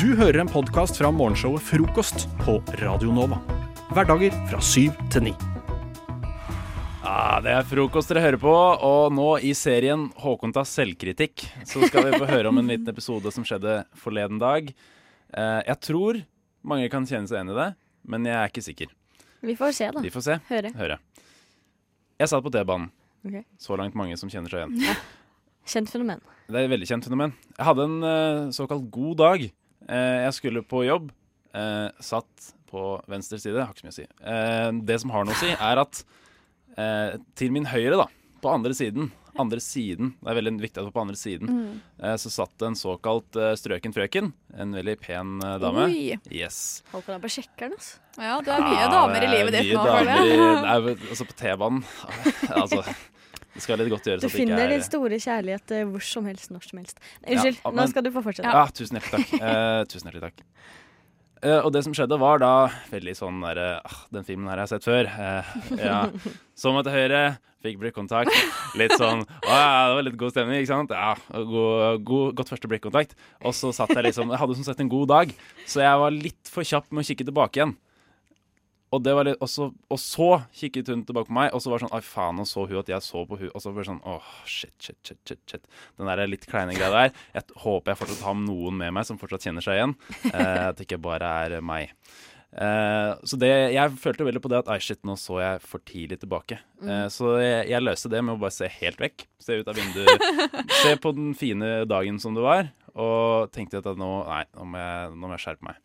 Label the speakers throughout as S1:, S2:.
S1: Du hører en podkast fra morgenshowet Frokost på Radio Nova. Hverdager fra syv til ni.
S2: Ja, Ah, det er frokost dere hører på, og nå i serien Håkon tar selvkritikk, så skal vi få høre om en liten episode som skjedde forleden dag. Eh, Jeg tror mange kan kjenne seg igjen i det, men jeg er ikke sikker.
S3: Vi får se, da.
S2: Vi får se.
S3: Høre.
S2: Høre. Jeg satt på T-banen.
S3: Ok.
S2: Så langt mange som kjenner seg igjen.
S3: Kjent fenomen.
S2: Det er et veldig kjent fenomen. Jeg hadde en eh, såkalt god dag. Eh, jeg skulle på jobb. eh, satt på venstre side. Har ikke så mye å si. Eh, det som har noe å si, er at eh, til min høyre, da, på andre siden andre siden, Det er veldig viktig at det var på andre siden.
S4: Mm.
S2: eh, så satt det en såkalt eh, strøken frøken. En veldig pen eh, dame.
S4: Oi.
S2: Yes. Ah,
S3: Håkon er på sjekkeren, altså.
S4: Ja, du er mye damer i livet ditt
S2: mye
S4: nå,
S2: damer
S4: føler jeg.
S2: i- Nei, altså på T-banen. Altså, det skal litt godt gjøres
S3: Du
S2: at det ikke
S3: finner
S2: er
S3: din store kjærlighet eh, hvor som helst, når som helst. Nei, Unnskyld,
S2: Ja, men-
S3: nå skal du få fortsette.
S2: Ja, tusen hjertelig takk. Eh, tusen hjertelig takk. Eh, og det som skjedde, var da veldig sånn derre ah, Den filmen her har jeg sett før. Eh, ja. Så meg til høyre, fikk blikkontakt. Litt sånn Å ja, det var litt god stemning, ikke sant? Ja, god, god, godt første blikkontakt. Og så satt jeg liksom Jeg hadde som sett en god dag, så jeg var litt for kjapp med å kikke tilbake igjen. Og, det var litt, og, så, og så kikket hun tilbake på meg, og så var det sånn Ai, faen, og så hun at jeg så på hun Og så ble det sånn Åh, shit, shit, shit, shit, shit. Den der litt kleine greia der. Jeg t- håper jeg fortsatt har noen med meg som fortsatt kjenner seg igjen. Eh, at det ikke bare er meg. Eh, så det, jeg følte veldig på det at Ai, shit, nå så jeg for tidlig tilbake. Eh, så jeg, jeg løste det med å bare se helt vekk. Se ut av vinduet. se på den fine dagen som det var. Og tenkte at nå, nei, nå må jeg, nå må jeg skjerpe meg.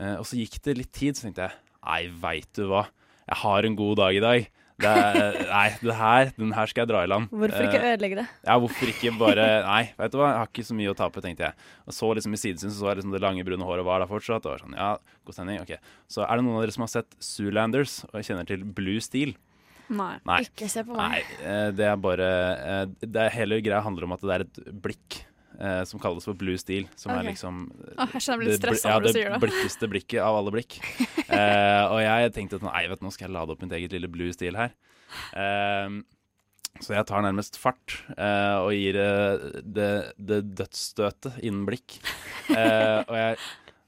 S2: Eh, og så gikk det litt tid, så tenkte jeg Nei, veit du hva. Jeg har en god dag i dag. Det er, nei, det her, den her skal jeg dra i land.
S3: Hvorfor
S2: Eh,
S3: ikke ødelegge det?
S2: ja, hvorfor ikke bare Nei, vet du hva, jeg har ikke så mye å tape, tenkte jeg. Og så liksom i sidesyn så jeg liksom det lange, brune håret var der fortsatt. Og var sånn, ja, god stemning, ok. Så er det noen av dere som har sett Zoolanders og jeg kjenner til Blue Steel?
S4: Nei.
S2: Nei.
S3: Ikke se på meg.
S2: Nei, eh, det er bare eh, det er Hele greia handler om at det er et blikk eh, som kalles for blue steel, som
S3: Ok.
S2: er liksom
S4: Åh, jeg kjenner Ah, jeg blir litt
S2: det bl-
S4: stressa
S2: ja,
S4: når du sier
S2: Det
S4: det.
S2: blikkeste blikket av alle blikk. Eh, og jeg tenkte at nei, vet du, nå skal jeg lade opp mitt eget lille blue stil her. Ehm, så jeg tar nærmest fart eh, og gir eh, det, det dødsstøtet innen blikk. Eh, og jeg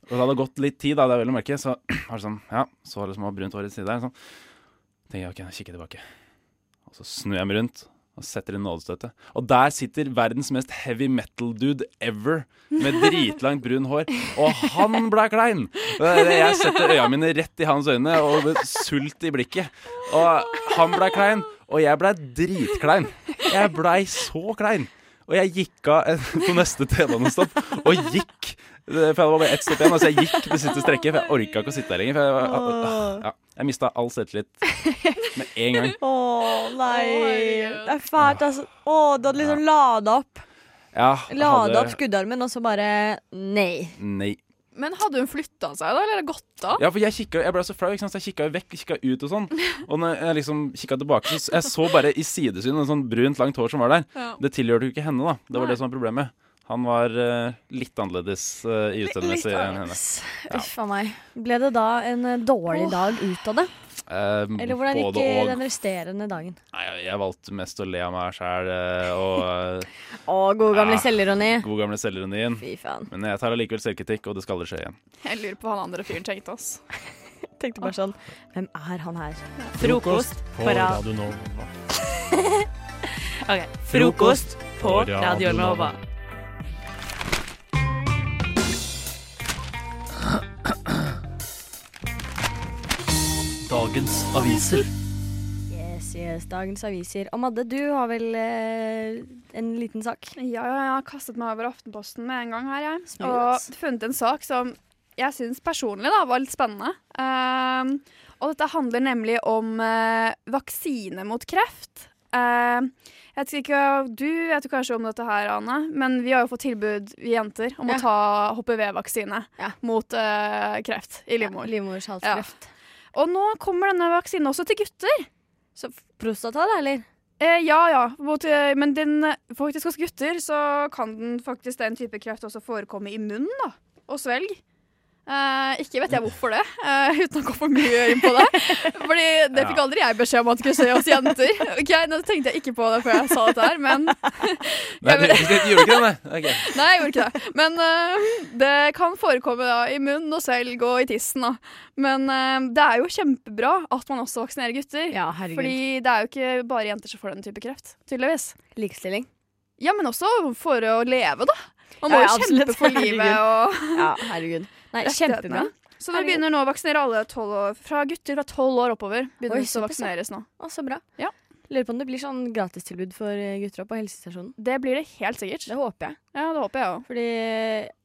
S2: og det hadde gått litt tid, da, det er vel å merke, så var det sånn, ja, så liksom har brunt hår i siden der. Sånn. Tenker jeg, ok, nå kikker jeg tilbake. Og så snur jeg meg rundt og setter inn nådestøtet. Og der sitter verdens mest heavy metal-dude ever med dritlangt brun hår. Og han ble klein! Eh, Jeg setter øya mine rett i hans øyne og med sult i blikket. Og han ble klein, og jeg ble dritklein. Jeg blei så klein. Og jeg gikk av på neste T-banestopp og gikk. Eh, For det var bare ett stopp igjen, så jeg gikk det siste strekket. For jeg orka ikke å sitte der lenger. For jeg, var- ah, ja, jeg mista all selvtillit med en gang.
S3: Å nei.
S4: Oi.
S3: Det er fælt, altså. Å, du hadde liksom lada opp
S2: Ja,
S3: Lada opp skuddarmen, og så bare Nei.
S2: Nei.
S4: Men hadde hun flytta seg, da? Eller er det gått av?
S2: Ja, for jeg, kikket, jeg ble så flau, ikke sant? så jeg kikka vekk, kikka ut og sånn. Og når jeg liksom kikka tilbake, så s- jeg så bare i sidesyn en sånn brunt, langt hår som var der.
S4: Ja.
S2: Det tilhørte jo ikke henne, da. Det var
S4: Nei.
S2: det som var problemet. Han var eh, litt annerledes eh, i utseendemessig enn henne. Ja.
S3: Uff a meg. Ble det da en eh, dårlig dag ut av det?
S2: Eh,
S3: Eller hvordan gikk
S2: både
S3: eh,
S2: og.
S3: den resterende dagen?
S2: Nei, jeg, jeg valgte mest å le av meg sjæl og eh,
S3: Å, god gamle
S2: Ja.
S3: selvironi.
S2: god gamle selvironien.
S3: Fy faen.
S2: Men jeg tar allikevel selvkritikk, og det skal aldri skje igjen.
S4: Jeg lurer på hva han andre fyren tenkte, ass.
S3: Tenkte bare sånn Hvem er han her?
S5: Frokost på Radio Nova. Frokost på Radio Nova. Dagens aviser.
S3: Yes, yes, dagens aviser. Og Madde, du har vel eh, en liten sak?
S6: Ja, ja, jeg har kastet meg over Aftenposten med en gang her, jeg.
S3: Smart.
S6: Og funnet en sak som jeg syns personlig da, var litt spennende. Ehm, og dette handler nemlig om eh, vaksine mot kreft. Ehm, jeg vet ikke, Du vet jo kanskje om dette her, Ane, men vi har jo fått tilbud, vi jenter, om
S3: Ja.
S6: å ta HPV-vaksine
S3: Ja.
S6: mot eh, kreft i livmor.
S3: Livmors halskreft.
S6: Og nå kommer denne vaksinen også til gutter.
S3: Så prostata, da, eller?
S6: Eh, ja, ja. Mot, eh, men den, eh, faktisk hos gutter så kan den faktisk den type kreft også forekomme i munnen da, og svelg.
S4: Eh, ikke vet jeg hvorfor det, eh, uten å gå for mye inn på det. Fordi det fikk aldri jeg beskjed om at skulle se oss jenter. Ok, Nå tenkte jeg ikke på det før jeg sa dette her, men
S2: Nei, du, du gjorde ikke det, nei. Ok.
S4: Nei, jeg gjorde ikke det. Men eh, det kan forekomme da, i munn og selg og i tissen. Da. Men eh, det er jo kjempebra at man også vaksinerer gutter.
S3: Ja, herregud.
S4: Fordi det er jo ikke bare jenter som får den type kreft, tydeligvis.
S3: Likestilling.
S4: Ja, men også for å leve, da. Man må jo
S3: Ja, ja, absolutt.
S4: kjempe for livet og
S3: Ja, herregud. Nei, kjempebra.
S4: rettighetene. Så dere begynner nå å vaksinere alle 12 år, fra gutter fra tolv år oppover.
S3: Oi,
S4: begynner de å
S3: såpass, ja.
S4: vaksineres nå.
S3: Å, så bra.
S4: Ja.
S3: Lurer på om det blir sånn gratistilbud for eh, gutter også på helsestasjonen.
S4: Det blir det helt sikkert.
S3: Det håper jeg.
S4: Ja, det håper jeg òg.
S3: Fordi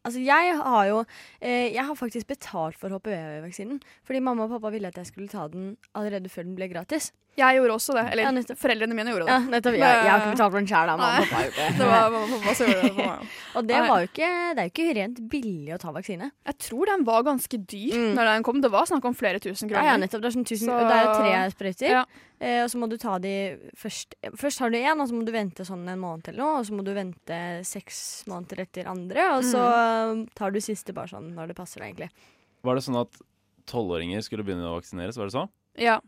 S3: Altså, jeg har jo eh, Jeg har faktisk betalt for HPV-vaksinen. Fordi mamma og pappa ville at jeg skulle ta den allerede før den ble gratis.
S4: Jeg gjorde også det.
S3: Ja,
S4: Eller
S3: nettopp.
S4: foreldrene mine gjorde det.
S3: Ja, nettopp. Jeg, jeg har ikke betalt for den sjæl, da. Mamma
S4: Nei.
S3: og pappa har gjort det.
S4: Det var mamma og pappa som gjorde det for meg. også.
S3: Og det var jo ikke Det er jo ikke rent billig å ta vaksine.
S4: Jeg tror den var ganske dyr
S3: Mm.
S4: når den kom. Det var snakk om flere tusen
S3: Ja,
S4: kroner.
S3: ja, nettopp. Det er, sånn tusen,
S4: Så-
S3: og det er jo tre sprøyter.
S4: Ja.
S3: Eh, og så må du ta de først Først har du én, og så må du vente sånn en måned eller noe. Og så må du vente seks måneder etter andre, og så
S4: Mm.
S3: eh, tar du siste bare sånn når det passer deg, egentlig.
S2: Var det sånn at tolvåringer skulle begynne å vaksineres, var det sånn?
S4: Ja.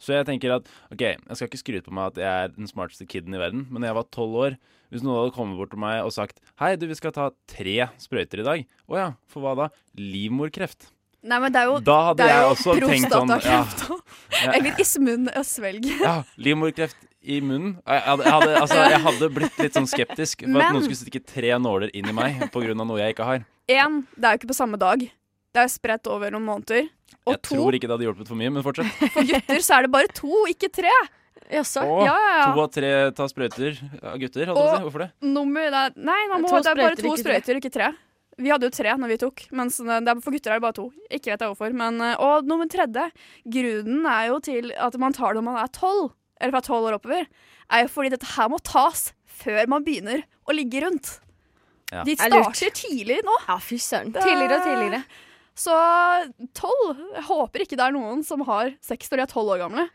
S2: Så jeg tenker at OK, jeg skal ikke skryte på meg at jeg er den smarteste kiden i verden, men da jeg var tolv år Hvis noen hadde kommet bort til meg og sagt Hei, du, vi skal ta tre sprøyter i dag. Å ja, for hva da? Livmorkreft.
S4: Nei, men det er jo,
S2: Da hadde
S4: det er
S2: jeg
S4: jo
S2: også tenkt sånn ja,
S4: prostatakreft òg. Eller i munn og svelg.
S2: ja, livmorkreft i munnen. Jeg hadde, jeg, hadde, altså, jeg hadde blitt litt sånn skeptisk for at
S4: Men-
S2: noen skulle stikke tre nåler inn i meg pga. noe jeg ikke har.
S4: Én, det er jo ikke på samme dag. Det er spredt over noen måneder. Og
S2: Jeg
S4: to,
S2: tror ikke det hadde hjulpet for mye, men fortsett.
S4: for gutter så er det bare to, ikke tre.
S3: Jaså?
S2: Å,
S4: Ja, ja,
S2: To
S4: ja.
S2: av tre tar sprøyter av gutter, holdt jeg på å si. Hvorfor det?
S4: Nummer det er, Nei, man må,
S3: To
S4: det er bare
S3: sprøyter,
S4: to
S3: ikke tre.
S4: sprøyter, ikke tre. Vi hadde jo tre når vi tok, mens eh, det det er, for gutter er det bare to. Ikke vet jeg hvorfor. Men, eh, og nummer tredje, grunnen er jo til at man tar det når man er tolv, eller fra tolv år oppover, er jo fordi dette her må tas før man begynner å ligge rundt.
S2: Ja.
S4: De
S3: Er lurt.
S4: starter tidlig nå,
S3: Ja, fy søren.
S4: Det-
S3: Tidligere og tidligere.
S4: så tolv Jeg håper ikke det er noen som har sex når de er tolv år gamle.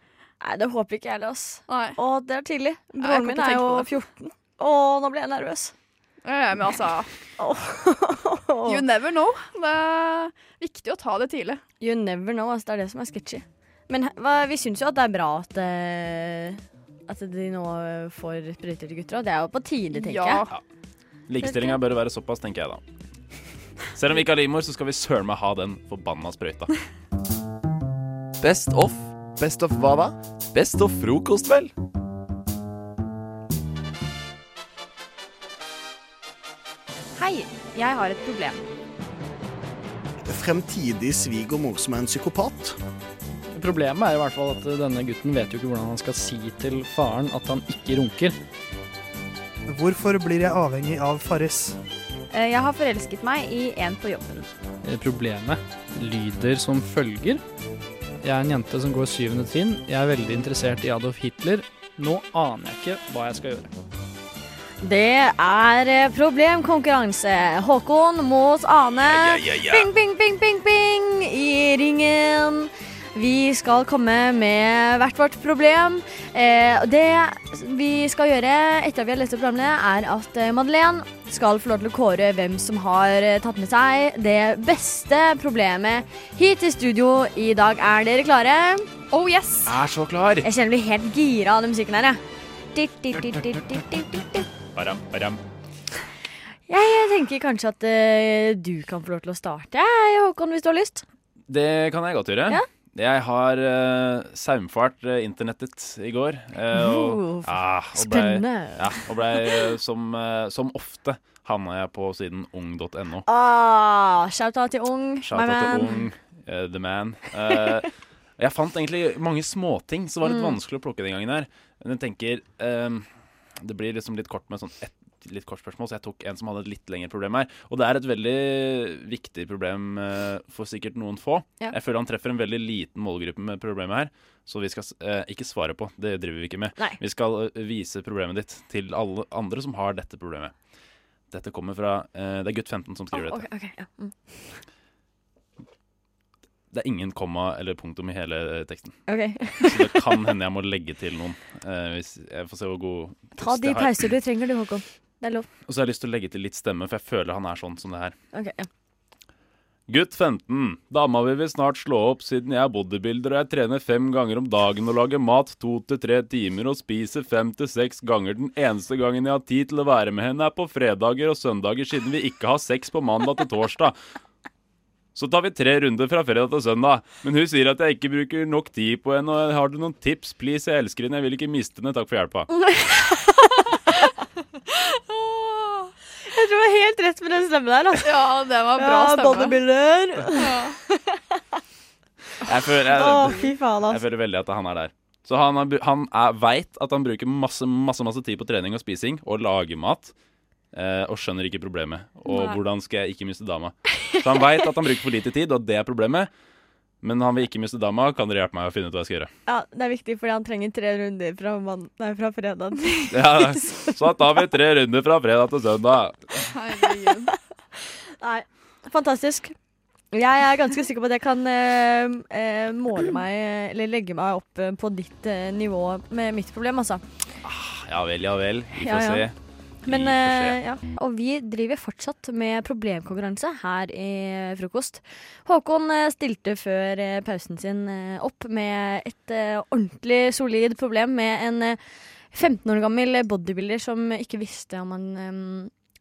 S3: Nei, det håper ikke jeg heller, ass.
S4: Nei.
S3: Å, det er tidlig.
S4: Nei, jeg
S3: Broren
S4: kan
S3: min
S4: ikke
S3: er
S4: tenke
S3: jo
S4: på det.
S3: 14. Å, nå ble jeg nervøs.
S4: Eh, Men altså,
S3: Åh.
S4: you never know. Det er viktig å ta det tidlig.
S3: You never know, altså. Det er det som er sketchy. Men he- hva, vi syns jo at det er bra at, eh, at de nå eh, får sprøyter til gutter, og det er jo på tide, tenker
S4: Ja.
S3: jeg.
S2: Likestillinga bør være såpass, tenker jeg da. Selv om vi ikke har livmor, så skal vi søren meg ha den forbanna sprøyta.
S7: Best of. Best of hva da? Best of frokost, vel?
S8: Hei, jeg har et problem.
S9: Fremtidig svigermor som er en psykopat.
S10: Problemet er i hvert fall at denne gutten vet jo ikke hvordan han skal si til faren at han ikke runker.
S11: Hvorfor blir jeg avhengig av Farris?
S8: Eh, Jeg har forelsket meg i en på jobben.
S10: Eh, Problemet lyder som følger. Jeg er en jente som går syvende trinn. Jeg er veldig interessert i Adolf Hitler. Nå aner jeg ikke hva jeg skal gjøre.
S3: Det er eh, problemkonkurranse. Håkon mot Ane. Ping, ping, ping, ping, ping i ringen. Vi skal komme med hvert vårt problem. Eh, og det vi skal gjøre etter at vi har lest opp programmene, er at eh, Madeleine skal få lov til å kåre hvem som har eh, tatt med seg det beste problemet hit til studio i dag. Er dere klare?
S4: Oh yes!
S2: Er så klar!
S3: Jeg kjenner jeg blir helt gira av den musikken her, jeg. Dit, dit, dit, dit, dit, dit, dit.
S2: Baram, baram.
S3: Jeg tenker kanskje at eh, du kan få lov til å starte, jeg, Håkon, hvis du har lyst.
S2: Det kan jeg godt gjøre.
S3: Ja.
S2: Jeg har eh, saumfart eh, internettet i går. eh, og,
S3: Oh,
S2: ah, og blei-
S3: Spennende.
S2: Ja, og blei eh, som, eh, som ofte havna jeg på siden ung.no.
S3: Ah, Shout-out til Ung, my
S2: Shout out til
S3: man.
S2: Ung, eh, The Man. Eh, jeg fant egentlig mange småting som var litt
S3: Mm.
S2: vanskelig å plukke den gangen her. Men jeg tenker ehm, Det blir liksom litt kort med sånn ett litt kort spørsmål, så jeg tok en som hadde et litt lengre problem her. Og det er et veldig viktig problem eh, for sikkert noen få.
S3: Ja.
S2: Jeg føler han treffer en veldig liten målgruppe med problemet her, så vi skal s- eh, ikke svare på. Det driver vi ikke med.
S3: Nei.
S2: Vi skal eh, vise problemet ditt til alle andre som har dette problemet. Dette kommer fra eh, Det er gutt 15 som skriver dette.
S3: Ok, ok, ja. Mm.
S2: Det er ingen komma eller punktum i hele eh, teksten.
S3: ok.
S2: Så det kan hende jeg må legge til noen. eh, hvis jeg får se hvor god
S3: Ta
S2: puls
S3: de
S2: jeg har.
S3: pauser du trenger, du, Håkon. Det er lov.
S2: Og så har jeg lyst til å legge til litt stemme, for jeg føler han er sånn som det her.
S3: Ok, ja.
S2: Gutt 15. Dama mi vil snart slå opp siden jeg er bodybuilder og jeg trener fem ganger om dagen og lager mat to til tre timer og spiser fem til seks ganger. Den eneste gangen jeg har tid til å være med henne, er på fredager og søndager siden vi ikke har sex på mandag til torsdag. Så tar vi tre runder fra fredag til søndag. Men hun sier at jeg ikke bruker nok tid på henne. Og har du noen tips, please? Jeg elsker henne. Jeg vil ikke miste henne. Takk for hjelpa.
S12: Jeg tror det var helt rett med den stemmen der. Altså.
S4: Ja, det var bra
S12: ja,
S4: stemme.
S12: Bodybuilder.
S2: Jeg føler,
S12: Å,
S2: jeg,
S12: fy faen,
S2: jeg
S12: altså.
S2: føler veldig at han er der. Så han, er bu- han er- veit at han bruker masse, masse, masse tid på trening og spising og lager mat. eh, og skjønner ikke problemet. Og
S13: Nei.
S2: hvordan skal jeg ikke miste dama? Så han veit at han bruker for lite tid, og det er problemet. Men han vil ikke miste dama. Kan dere hjelpe meg å finne ut hva jeg skal gjøre?
S3: Ja, Det er viktig, fordi han trenger tre runder fra, mann- nei, fra fredag til
S2: Ja, så da tar vi tre runder fra fredag til søndag.
S3: Nei, fantastisk. Jeg er ganske sikker på at jeg kan eh, eh, måle meg Eller legge meg opp eh, på ditt eh, nivå med mitt problem, altså.
S2: Ja vel, ja vel. Vi får
S3: Ja, ja.
S2: se.
S3: Men,
S2: Vi får se.
S3: eh, ja. Og vi driver fortsatt med problemkonkurranse her i Frokost. Håkon eh, stilte før eh, pausen sin eh, opp med et eh, ordentlig solid problem med en eh, 15 år gammel bodybuilder som ikke visste om han eh,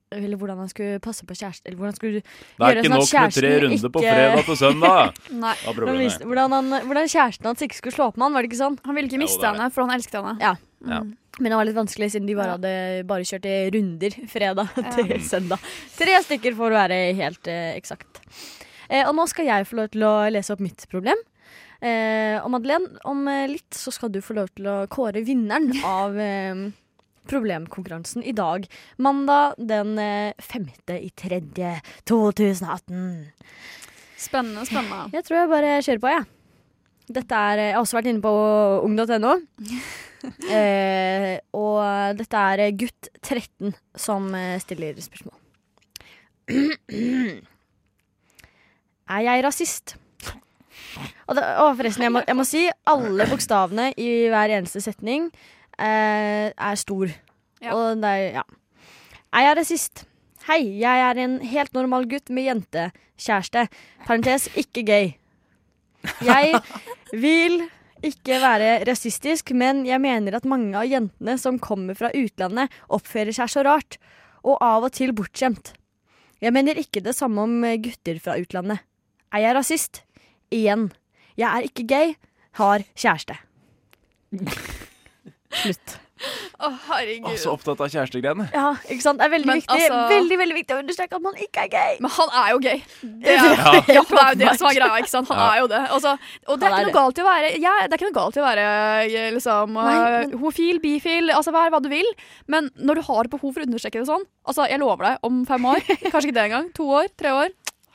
S3: eller hvordan han skulle passe på kjæresten Eller hvordan han skulle
S2: Det er
S3: gjøre
S2: ikke
S3: sånn at
S2: nok med tre
S3: kjæresten
S2: runder på
S3: ikke-
S2: fredag til søndag. Hva
S3: Nei.
S2: er
S3: Hvordan,
S2: problemet?
S3: visste- hvordan, han, hvordan kjæresten hans ikke skulle slå opp med han, var det ikke sånn? Han ville ikke
S2: miste det er det.
S3: henne, for han elsket henne. Ja.
S2: Ja.
S3: Men det var litt vanskelig siden de bare hadde bare kjørt i runder fredag til
S12: Mm.
S3: søndag. Tre stykker for å være helt eh, eksakt. Eh, og nå skal jeg få lov til å lese opp mitt problem. Eh, og Madeleine, om eh, litt så skal du få lov til å kåre vinneren av eh, problemkonkurransen i dag. Mandag den eh, 5. i 3. 2018.
S4: Spennende, spennende.
S3: Jeg tror jeg bare kjører på, jeg. Dette er, jeg har også vært inne på ung.no. eh, og dette er gutt 13 som eh, stiller spørsmål. er jeg rasist? Og det, å, forresten, jeg må, jeg må si alle bokstavene i hver eneste setning eh, er stor. Og det er, ja. Er jeg rasist? Hei, jeg er en helt normal gutt med jentekjæreste. Parentes ikke gay. Jeg vil ikke være rasistisk, men jeg mener at mange av jentene som kommer fra utlandet, oppfører seg så rart, og av og til bortskjemt. Jeg mener ikke det samme om gutter fra utlandet. Er jeg rasist? Igjen. Jeg er ikke gay, har kjæreste. Slutt.
S4: Å, herregud.
S2: Å, så opptatt av kjærestegreiene.
S3: Ja, ikke sant? Det er veldig
S4: Men
S3: viktig
S4: altså-
S3: Veldig, veldig viktig å understreke at man ikke er gay.
S4: Men han er jo gay. Det er,
S2: Ja.
S4: ja. det er jo det som er greia. ikke sant? Han
S2: Ja.
S4: er jo det. Altså, og det er
S3: Han er
S4: ikke
S3: det.
S4: noe galt i å være ja, Det er ikke noe galt i å være eh, liksom,
S3: Nei,
S4: eh, homofil, bifil, altså vær hva du vil. Men når du har behov for å understreke det sånn altså, Jeg lover deg, om fem år, kanskje ikke det engang, to år, tre år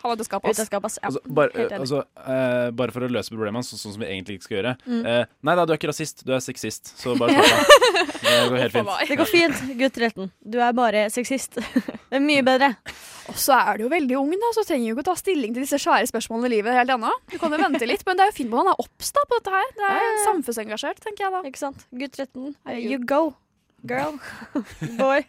S4: Han er til skapet.
S3: Ut av skapet, ass. Ja,
S2: Altså, bare,
S3: helt enig.
S2: altså, eh, bare for å løse problemet hans, så- sånn som vi egentlig ikke skal gjøre.
S3: Mm.
S2: Eh, nei da, du er ikke rasist, du er sexist. Så bare slapp av. Det går helt fint.
S3: Det går fint, gutt 13. Du er bare sexist. Det er mye bedre.
S4: Og så er du jo veldig ung, da, så trenger du ikke å ta stilling til disse svære spørsmålene i livet helt ennå. Du kan jo vente litt, men det er jo fint hvordan han er obs da på dette her. Det er samfunnsengasjert, tenker jeg da.
S3: Ikke sant. Gutt 13, you go. Girl. Boy.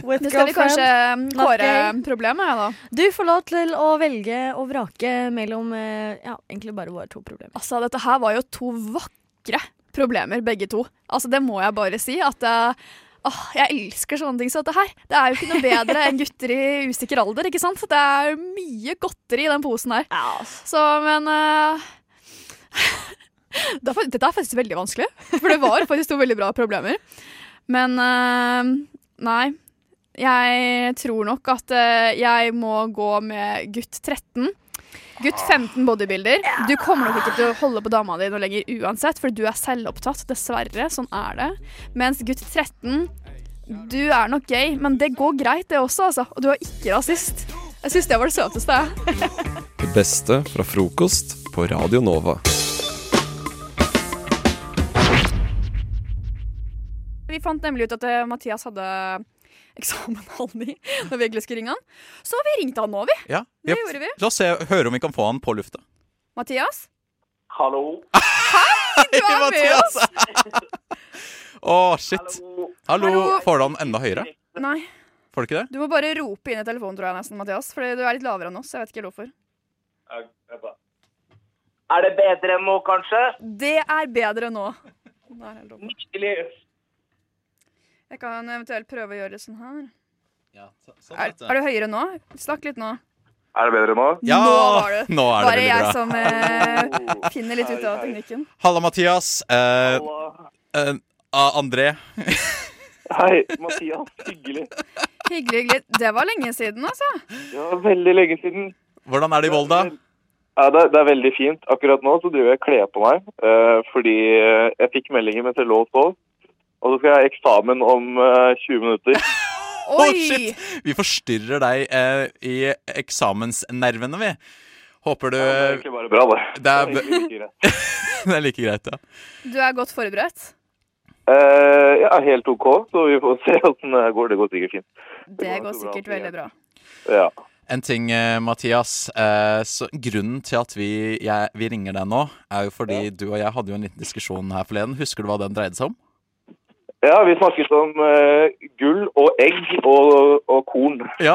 S3: With
S4: Nå skal vi kanskje um,
S3: Not
S4: kåre
S3: gay.
S4: problemet, ja da.
S3: Du får lov til å velge og vrake mellom eh, ja, egentlig bare våre to problemer.
S4: Altså, dette her var jo to vakre problemer, begge to. Altså, det må jeg bare si. At eh, åh, jeg elsker sånne ting som dette her. Det er jo ikke noe bedre enn gutter i usikker alder, ikke sant? Det er mye godteri i den posen her. Så, men eh, det er fa- Dette er faktisk veldig vanskelig, for det var faktisk to veldig bra problemer. Men eh, nei. Jeg tror nok at eh, jeg må gå med gutt 13. Gutt 15 bodybuilder. Du kommer nok ikke til å holde på dama di noe lenger uansett, for du er selvopptatt. Dessverre. Sånn er det. Mens gutt 13, du er nok gay, men det går greit, det også, altså. Og du er ikke rasist. Jeg syns det var det søteste.
S7: Det beste fra frokost på Radio Nova.
S4: Vi fant nemlig ut at eh, Mathias hadde eksamen halv ni når vi egentlig skulle ringe han. Så vi ringte han nå, vi.
S14: Ja,
S4: Det
S14: vi-
S4: gjorde vi.
S14: La oss se, høre om vi kan få han på lufta.
S4: Mathias?
S15: Hallo.
S4: Hei, du er med
S14: Mathias.
S4: oss!
S14: Å, shit. Hallo.
S4: Hallo.
S14: Får du han enda høyere?
S4: Nei,
S14: Får du ikke det?
S4: du må bare rope inn i telefonen, tror jeg nesten, Mathias. Fordi du er litt lavere enn oss. Jeg vet ikke hvorfor.
S13: Er det bedre nå, kanskje?
S4: Det er bedre nå. Da er jeg dum.
S13: Nydelig.
S4: Jeg kan eventuelt prøve å gjøre det sånn her. er,
S14: sånn, vet du.
S4: er du høyere nå? Snakk litt nå.
S13: Er det bedre nå?
S14: Ja!
S4: Nå var det.
S14: Nå er det
S4: Bare
S14: veldig
S4: jeg
S14: bra.
S4: som eh, finner litt ut av teknikken.
S14: Halla, Mathias. Eh, eh, ah, André.
S13: Hei, Mathias. Hyggelig.
S4: Hyggelig, hyggelig. Det var lenge siden, altså.
S13: Det var veldig lenge siden.
S14: Hvordan er det i Volda?
S13: Ja, det, er- det er veldig fint. Akkurat nå så driver jeg og kler på meg, eh, fordi eh, jeg fikk meldinger mens jeg lå og sov. Og så skal jeg ha eksamen om eh, 20 minutter.
S14: Oi! Vi forstyrrer deg eh, i eksamensnervene, vi. Håper du Det er
S13: egentlig bare bra, det.
S14: Det er,
S13: Det er egentlig like
S14: b- det er like greit, ja.
S4: Du er godt forberedt.
S13: Eh, ja, helt OK, så vi får se åssen det går. Det går sikkert fint.
S4: Det går sikkert veldig bra.
S13: Ja.
S14: En ting, eh, Mathias. Eh, så grunnen til at vi, jeg, vi ringer deg nå, er jo fordi du og jeg hadde jo en liten diskusjon her forleden. Husker du hva den dreide seg om?
S13: Ja, vi snakket om eh, gull og egg og, og korn.
S14: Ja.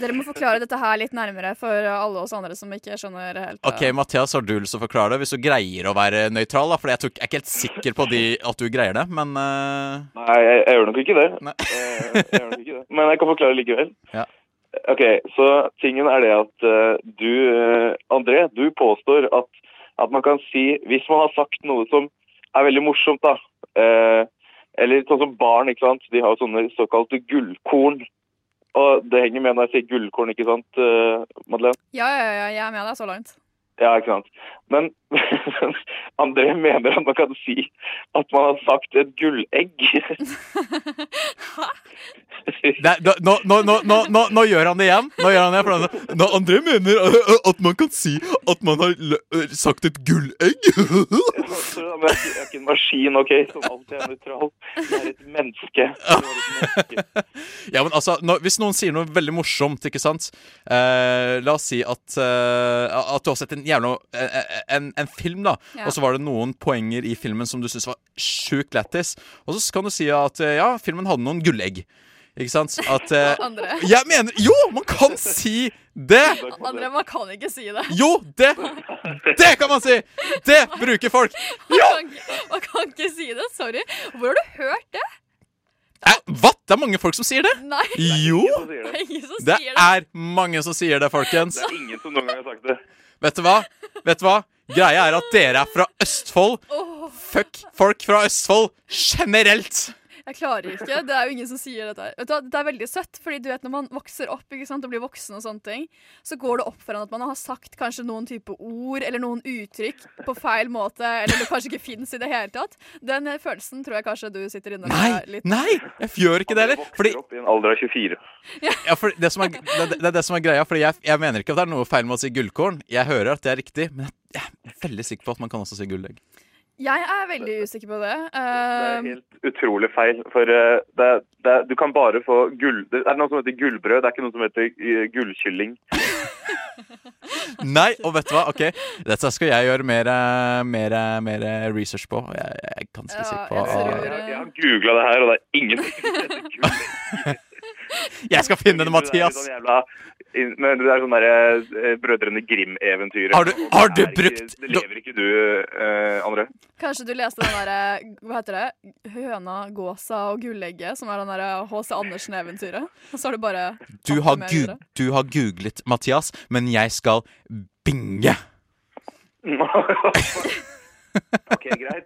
S4: Dere må forklare dette her litt nærmere for alle oss andre som ikke skjønner helt. eh.
S14: OK, Mathias, har du lyst til å forklare det? Hvis du greier å være nøytral, da. For jeg, tror, jeg er ikke helt sikker på de, at du greier det, men eh,
S13: Nei, jeg, jeg gjør nok ikke det. Eh, jeg gjør nok ikke det. Men jeg kan forklare likevel.
S14: Ja.
S13: Ok, så tingen er det at eh, du, eh, André, du påstår at, at man kan si, hvis man har sagt noe som er veldig morsomt da, eh, eller sånn som barn, ikke sant, de har jo sånne såkalte gullkorn, og det henger med når jeg sier gullkorn, ikke sant, eh, Madeleine?
S4: Ja, ja, ja, jeg er med deg så langt.
S13: Ja, ikke sant. Men André mener at man kan si at man har sagt et gullegg.
S14: Nei, da- nå, nå, nå, nå, nå, nå gjør han det igjen. Nå gjør han det, for han, nå, André mener ø, ø, at man kan si at man har lø- ø, sagt et gullegg.
S13: Så da, men jeg er ikke- jeg er ikke en maskin, OK, som alltid er nøytral. Jeg er et menneske. Jeg er et menneske.
S14: ja, men altså, nå, Hvis noen sier noe veldig morsomt, ikke sant eh, La oss si at, eh, at du har sett en jævla eh, en, en film, da,
S15: Ja.
S14: og så var det noen poenger i filmen som du syntes var sjukt lættis, og så kan du si at eh, ja, filmen hadde noen gullegg. Ikke sant? At eh,
S4: Andre.
S14: Jeg mener Jo, man kan si det!
S4: Andre, man kan ikke si det.
S14: Jo, det Det kan man si! Det bruker folk!
S4: Man kan, ikke- man kan ikke si det, sorry. Hvor har du hørt det?
S14: Hva? Det er mange folk som sier det!
S4: Nei.
S14: Jo!
S4: Det er ingen som
S14: Det
S4: sier det.
S14: er mange som sier det, folkens.
S13: Det er ingen som noen gang har sagt det.
S14: Vet du hva? Vet du hva? Greia er at dere er fra Østfold. Fuck folk fra Østfold generelt!
S4: Jeg klarer ikke. Det er jo ingen som sier dette. her. Vet du hva, Det er veldig søtt, fordi du vet når man vokser opp ikke sant, og blir voksen, og sånne ting, så går det opp for en at man har sagt kanskje noen type ord eller noen uttrykk på feil måte, eller det kanskje ikke fins i det hele tatt. Den følelsen tror jeg kanskje du sitter inne med litt.
S14: Nei! Jeg gjør ikke det heller. Fordi
S13: I en alder av 24.
S14: ja, for det, som er, det, det er det som er greia. Fordi jeg, jeg mener ikke at det er noe feil med å si gullkorn. Jeg hører at det er riktig, men jeg, jeg er veldig sikker på at man kan også si gullegg.
S4: Jeg er veldig usikker på det. Eh,
S13: Utrolig feil. For eh, det, er- det, er- du kan bare få gull... Det er noe som heter gullbrød, det er ikke noe som heter eh, gullkylling.
S14: Nei, og vet du hva? Ok, Dette skal jeg gjøre mer, eh, mer, eh, mer eh, research på. og Jeg, jeg er ganske sikker på
S13: Jeg har googla det her, og det er ingen
S14: Jeg skal finne det, Mathias.
S13: Det er sånn jævla- Men det er sånn derre Brødrene Grim-eventyret.
S14: Har du-
S13: Og
S14: har
S13: det
S14: du
S13: er ikke-
S14: brukt-
S13: Det lever ikke du, eh, André.
S4: kanskje du leste den derre Hva heter det? Høna, gåsa og gullegget, som er den derre H.C. Andersen-eventyret. Og så har du bare
S14: Du
S4: tatt
S14: har,
S4: det med
S14: gu
S4: videre.
S14: du har googlet, Mathias, men jeg skal binge.
S13: OK, greit.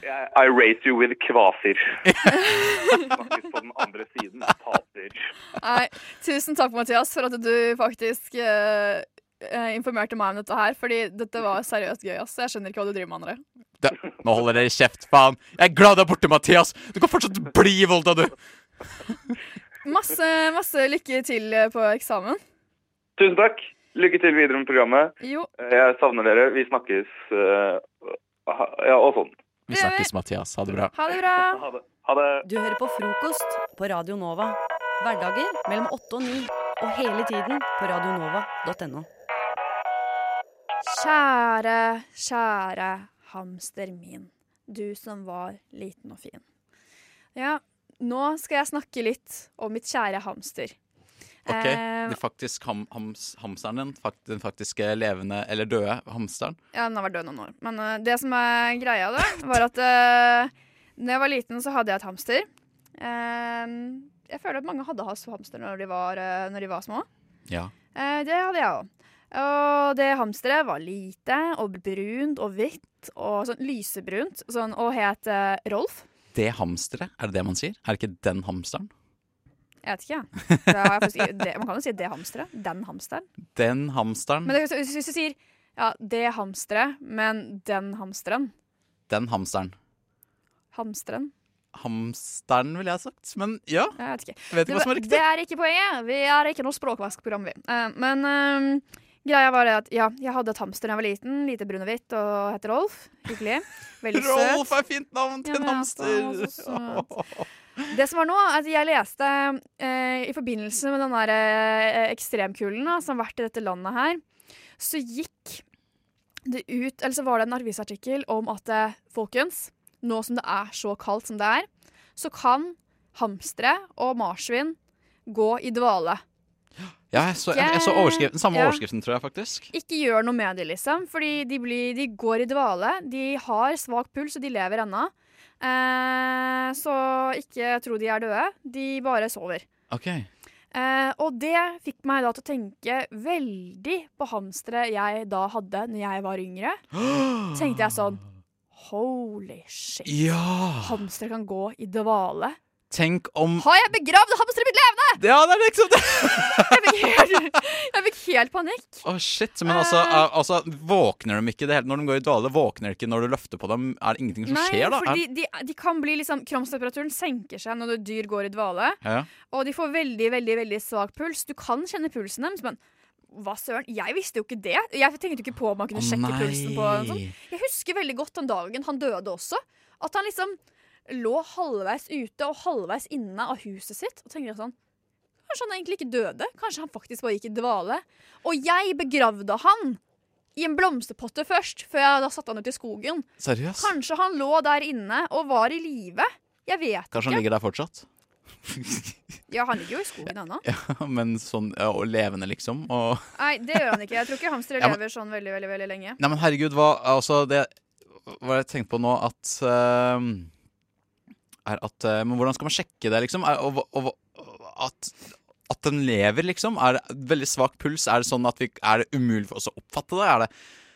S13: Jeg, I rate you with kvaser. Snakkes på den andre siden. Taper.
S4: Nei, tusen takk, Mathias, for at du faktisk eh, eh, informerte meg om dette her. Fordi dette var seriøst gøy. ass. Jeg skjønner ikke hva du driver med, André.
S14: Da, nå holder dere kjeft, faen. Jeg er glad du er borte, Mathias. Du kan fortsatt bli i Volda, du.
S4: Masse, masse lykke til eh, på eksamen.
S13: Tusen takk. Lykke til videre med programmet.
S4: Jo.
S13: Eh, Jeg savner dere. Vi snakkes eh, ha- Ja, og sånn.
S14: Vi snakkes, Mathias. Ha det bra.
S4: Ha det bra.
S13: Ha det. Ha det.
S12: Du hører på frokost på Radio Nova. Hverdager mellom 8 og 9. Og hele tiden på radionova.no.
S6: Kjære, kjære hamster min, du som var liten og fin.
S4: Ja, nå skal jeg snakke litt om mitt kjære hamster.
S14: Ok,
S4: Eh,
S14: de faktisk ham, hams, hamsteren, fak, den faktiske levende eller døde hamsteren.
S4: Ja, den har vært død noen år. Men eh, det som er greia, da, var at uh, da jeg var liten, så hadde jeg et hamster. Eh, jeg føler at mange hadde has- hamster når de var, eh, når de var små.
S14: Ja.
S4: Eh, det hadde jeg òg. Og det hamsteret var lite og brunt og hvitt og sånn lysebrunt sånn, og het eh, Rolf.
S14: Det hamsteret, er det det man sier? Er det ikke den hamsteren?
S4: Jeg vet ikke, jeg. Det har jeg faktisk- det, man kan jo si det hamsteret. Den hamsteren.
S14: Den hamsteren,
S4: Men det, hvis, hvis du sier ja, det hamsteret, men den hamsteren
S14: den hamsteren.
S4: Hamsteren.
S14: Hamsteren, ville jeg ha sagt. Men ja.
S4: Jeg vet ikke.
S14: Vet ikke
S4: det,
S14: hva som
S4: var-
S14: er riktig.
S4: Det er ikke poenget. Vi er ikke noe språkvaskprogram, vi. Eh, men ehm, greia var det at ja, jeg hadde et hamster da jeg var liten. Lite brun og hvitt, og het Rolf. Hyggelig. Veldig søt.
S14: Rolf er fint navn til
S4: Ja,
S14: en
S4: men altså, han var
S14: hamster!
S4: så søt. Det som var nå, at jeg leste eh, i forbindelse med den der eh, ekstremkulden da, som har vært i dette landet her, så gikk det ut, eller så var det en avisartikkel om at eh, folkens, nå som det er så kaldt som det er, så kan hamstere og marsvin gå i dvale.
S14: Ja, jeg så, jeg, jeg så overskriften, samme
S4: Ja.
S14: overskriften, tror jeg, faktisk.
S4: Ikke gjør noe med det, liksom. Fordi de, blir, de går i dvale. De har svak puls, og de lever ennå. Eh, så ikke tro de er døde. De bare sover.
S14: Ok.
S4: Eh, og det fikk meg da til å tenke veldig på hamstere jeg da hadde når jeg var yngre. Tenkte jeg sånn Holy shit.
S14: Ja.
S4: Hamstere kan gå i dvale.
S14: Tenk om
S4: Har jeg begravd hamsteret mitt levende?!
S14: Ja, det er liksom det!
S4: Jeg fikk helt panikk.
S14: Å, shit. Men altså,
S4: Eh.
S14: al- altså, våkner de ikke i det hele Når de går i dvale, våkner de ikke når du løfter på dem? Er det ingenting som
S4: Nei,
S14: skjer, da? Er-
S4: fordi de, de kan bli liksom Kroppstemperaturen senker seg når dyr går i dvale.
S14: Ja, ja.
S4: Og de får veldig, veldig veldig svak puls. Du kan kjenne pulsen deres, men hva søren, jeg visste jo ikke det. Jeg tenkte jo ikke på om man kunne
S14: Å,
S4: sjekke
S14: nei.
S4: pulsen på en sånn. Jeg husker veldig godt den dagen han døde også. At han liksom lå halvveis ute og halvveis inne av huset sitt. Og tenkte jeg sånn Kanskje han egentlig ikke døde? Kanskje han faktisk bare gikk i dvale? Og jeg begravde han i en blomsterpotte først, før jeg da satte han ut i skogen.
S14: Seriøst?
S4: Kanskje han lå der inne og var i live. Jeg vet
S14: Kanskje han
S4: ikke.
S14: ligger der fortsatt?
S4: Ja, han ligger jo i skogen ennå.
S14: Ja, men sånn ja, og levende, liksom. Og
S4: Nei, det gjør han ikke. Jeg tror ikke hamstere
S14: Ja, men-
S4: lever sånn veldig, veldig, veldig lenge.
S14: Nei, men herregud, hva Altså, det Hva jeg tenkte på nå, at eh, Er at eh, Men hvordan skal man sjekke det, liksom? Er, og, og, og at at den lever, liksom? Er det veldig svak puls? Er det sånn at vi, er det umulig for oss å oppfatte det? Er det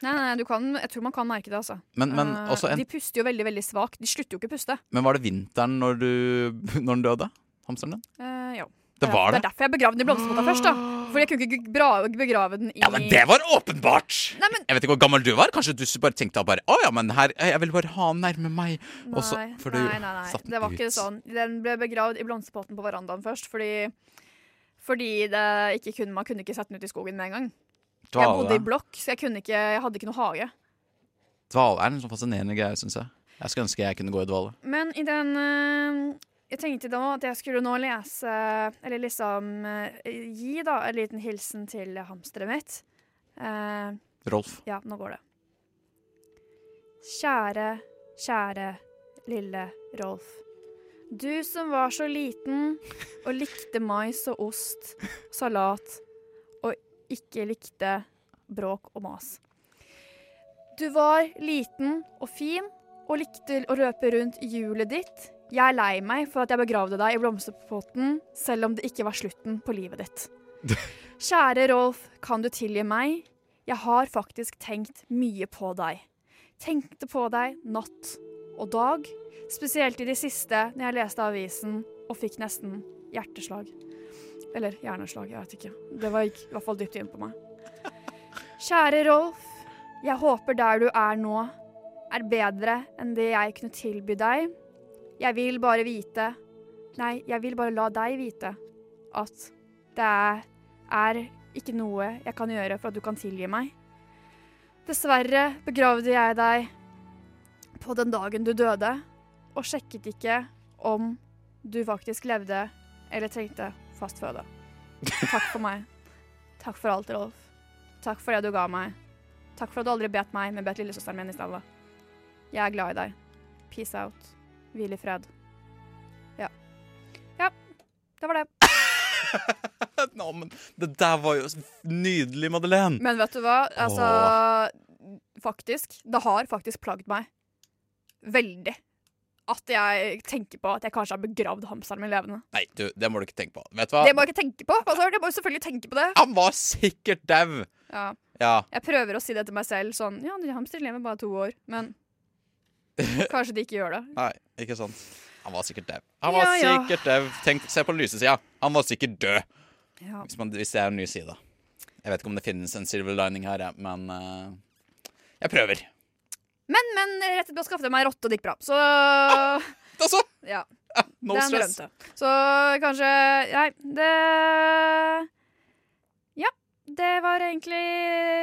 S4: Nei, nei, nei, du kan, jeg tror man kan merke det, altså.
S14: Men- men
S4: Eh,
S14: også en-
S4: De puster jo veldig, veldig svakt. De slutter jo ikke å puste.
S14: Men var det vinteren når, du, når den døde? Hamsteren din?
S4: Eh, jo.
S14: Det var
S4: Det er
S14: det?
S4: derfor jeg begravde den i blomsterpotta først, da. Fordi jeg kunne ikke bra- begrave den i
S14: Ja, men det var åpenbart!
S4: Nei, men-
S14: Jeg vet ikke hvor gammel du var. Kanskje du bare tenkte at bare, å ja, men her, jeg vil bare ha han nærme meg.
S4: Nei,
S14: Og så, for du
S4: nei, nei, nei.
S14: satte den
S4: Det var ikke
S14: ut.
S4: sånn. Den ble begravd i blomsterpotten på verandaen først, fordi fordi det ikke kunne, man kunne ikke sette den ut i skogen med en gang. Jeg bodde i
S14: Dvale,
S4: blokk, så jeg, kunne ikke, jeg hadde ikke noe hage.
S14: dvale er en sånn fascinerende greie, syns jeg. Jeg skulle ønske jeg kunne gå i dvale.
S4: Men i den eh, Jeg tenkte da at jeg skulle nå lese Eller liksom eh, gi da en liten hilsen til hamsteret mitt. Eh,
S14: Rolf.
S4: Ja, nå går det. Kjære, kjære lille Rolf. Du som var så liten og likte mais og ost, salat, og ikke likte bråk og mas. Du var liten og fin og likte å røpe rundt i hjulet ditt. Jeg er lei meg for at jeg begravde deg i blomsterpotten, selv om det ikke var slutten på livet ditt. Kjære Rolf, kan du tilgi meg? Jeg har faktisk tenkt mye på deg. Tenkte på deg natt og dag, spesielt i det siste når jeg leste avisen og fikk nesten hjerteslag. Eller hjerneslag, jeg vet ikke. Det var gikk i hvert fall dypt inn på meg. Kjære Rolf, jeg håper der du er nå, er bedre enn det jeg kunne tilby deg. Jeg vil bare vite Nei, jeg vil bare la deg vite at det er, er ikke noe jeg kan gjøre for at du kan tilgi meg. Dessverre begravde jeg deg på den dagen du døde, og sjekket ikke om du faktisk levde eller trengte fast føde. Takk for meg. Takk for alt, Rolf. Takk for det du ga meg. Takk for at du aldri bet meg, men bet lillesøsteren min i stedet. Jeg er glad i deg. Peace out. Hvil i fred. Ja. Ja, det var det.
S14: Nå, men det der var jo nydelig, Madeleine.
S6: Men vet du hva? Altså, faktisk. Det har faktisk plagd meg. Veldig. At jeg tenker på at jeg kanskje har begravd hamsteren min levende.
S14: Nei, du, det må du ikke tenke på. Vet du hva?
S6: Det må jeg ikke tenke på! Altså, jeg må jo selvfølgelig tenke på det.
S14: Han var sikkert dau.
S6: Ja.
S14: Ja.
S6: Jeg prøver å si det til meg selv sånn Ja, hamster lever bare to år, men kanskje de ikke gjør det.
S14: Nei, ikke sant. Han var sikkert dau. Han var
S6: Ja, ja.
S14: sikkert dau. Tenk, se på den lyse sida. Han var sikkert død.
S6: Ja.
S14: Hvis, man, hvis det er en ny side. Jeg vet ikke om det finnes en silver lining her, ja, men eh, jeg prøver.
S6: Men, men rett etterpå skaffet jeg meg rotte, og det gikk bra. Så Ja.
S14: No
S6: Den
S14: stress.
S6: rømte. Så kanskje Nei, det Ja. Det var egentlig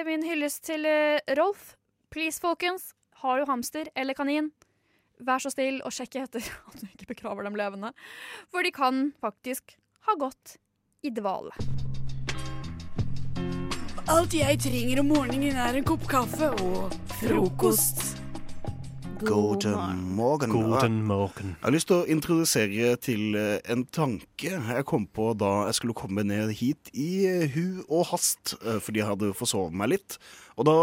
S6: min hyllest til eh, Rolf. Please, folkens. Har du hamster eller kanin? Vær så snill og sjekk etter at du ikke begraver dem levende. For de kan faktisk ha gått i dvale.
S15: Alt jeg trenger om morgenen er en kopp kaffe og frokost.
S9: Guten morgen.
S1: Guten morgen.
S9: Jeg har lyst til å introdusere til eh, en tanke jeg kom på da jeg skulle komme ned hit i eh, hu og hast, eh, fordi jeg hadde forsovet meg litt. Og da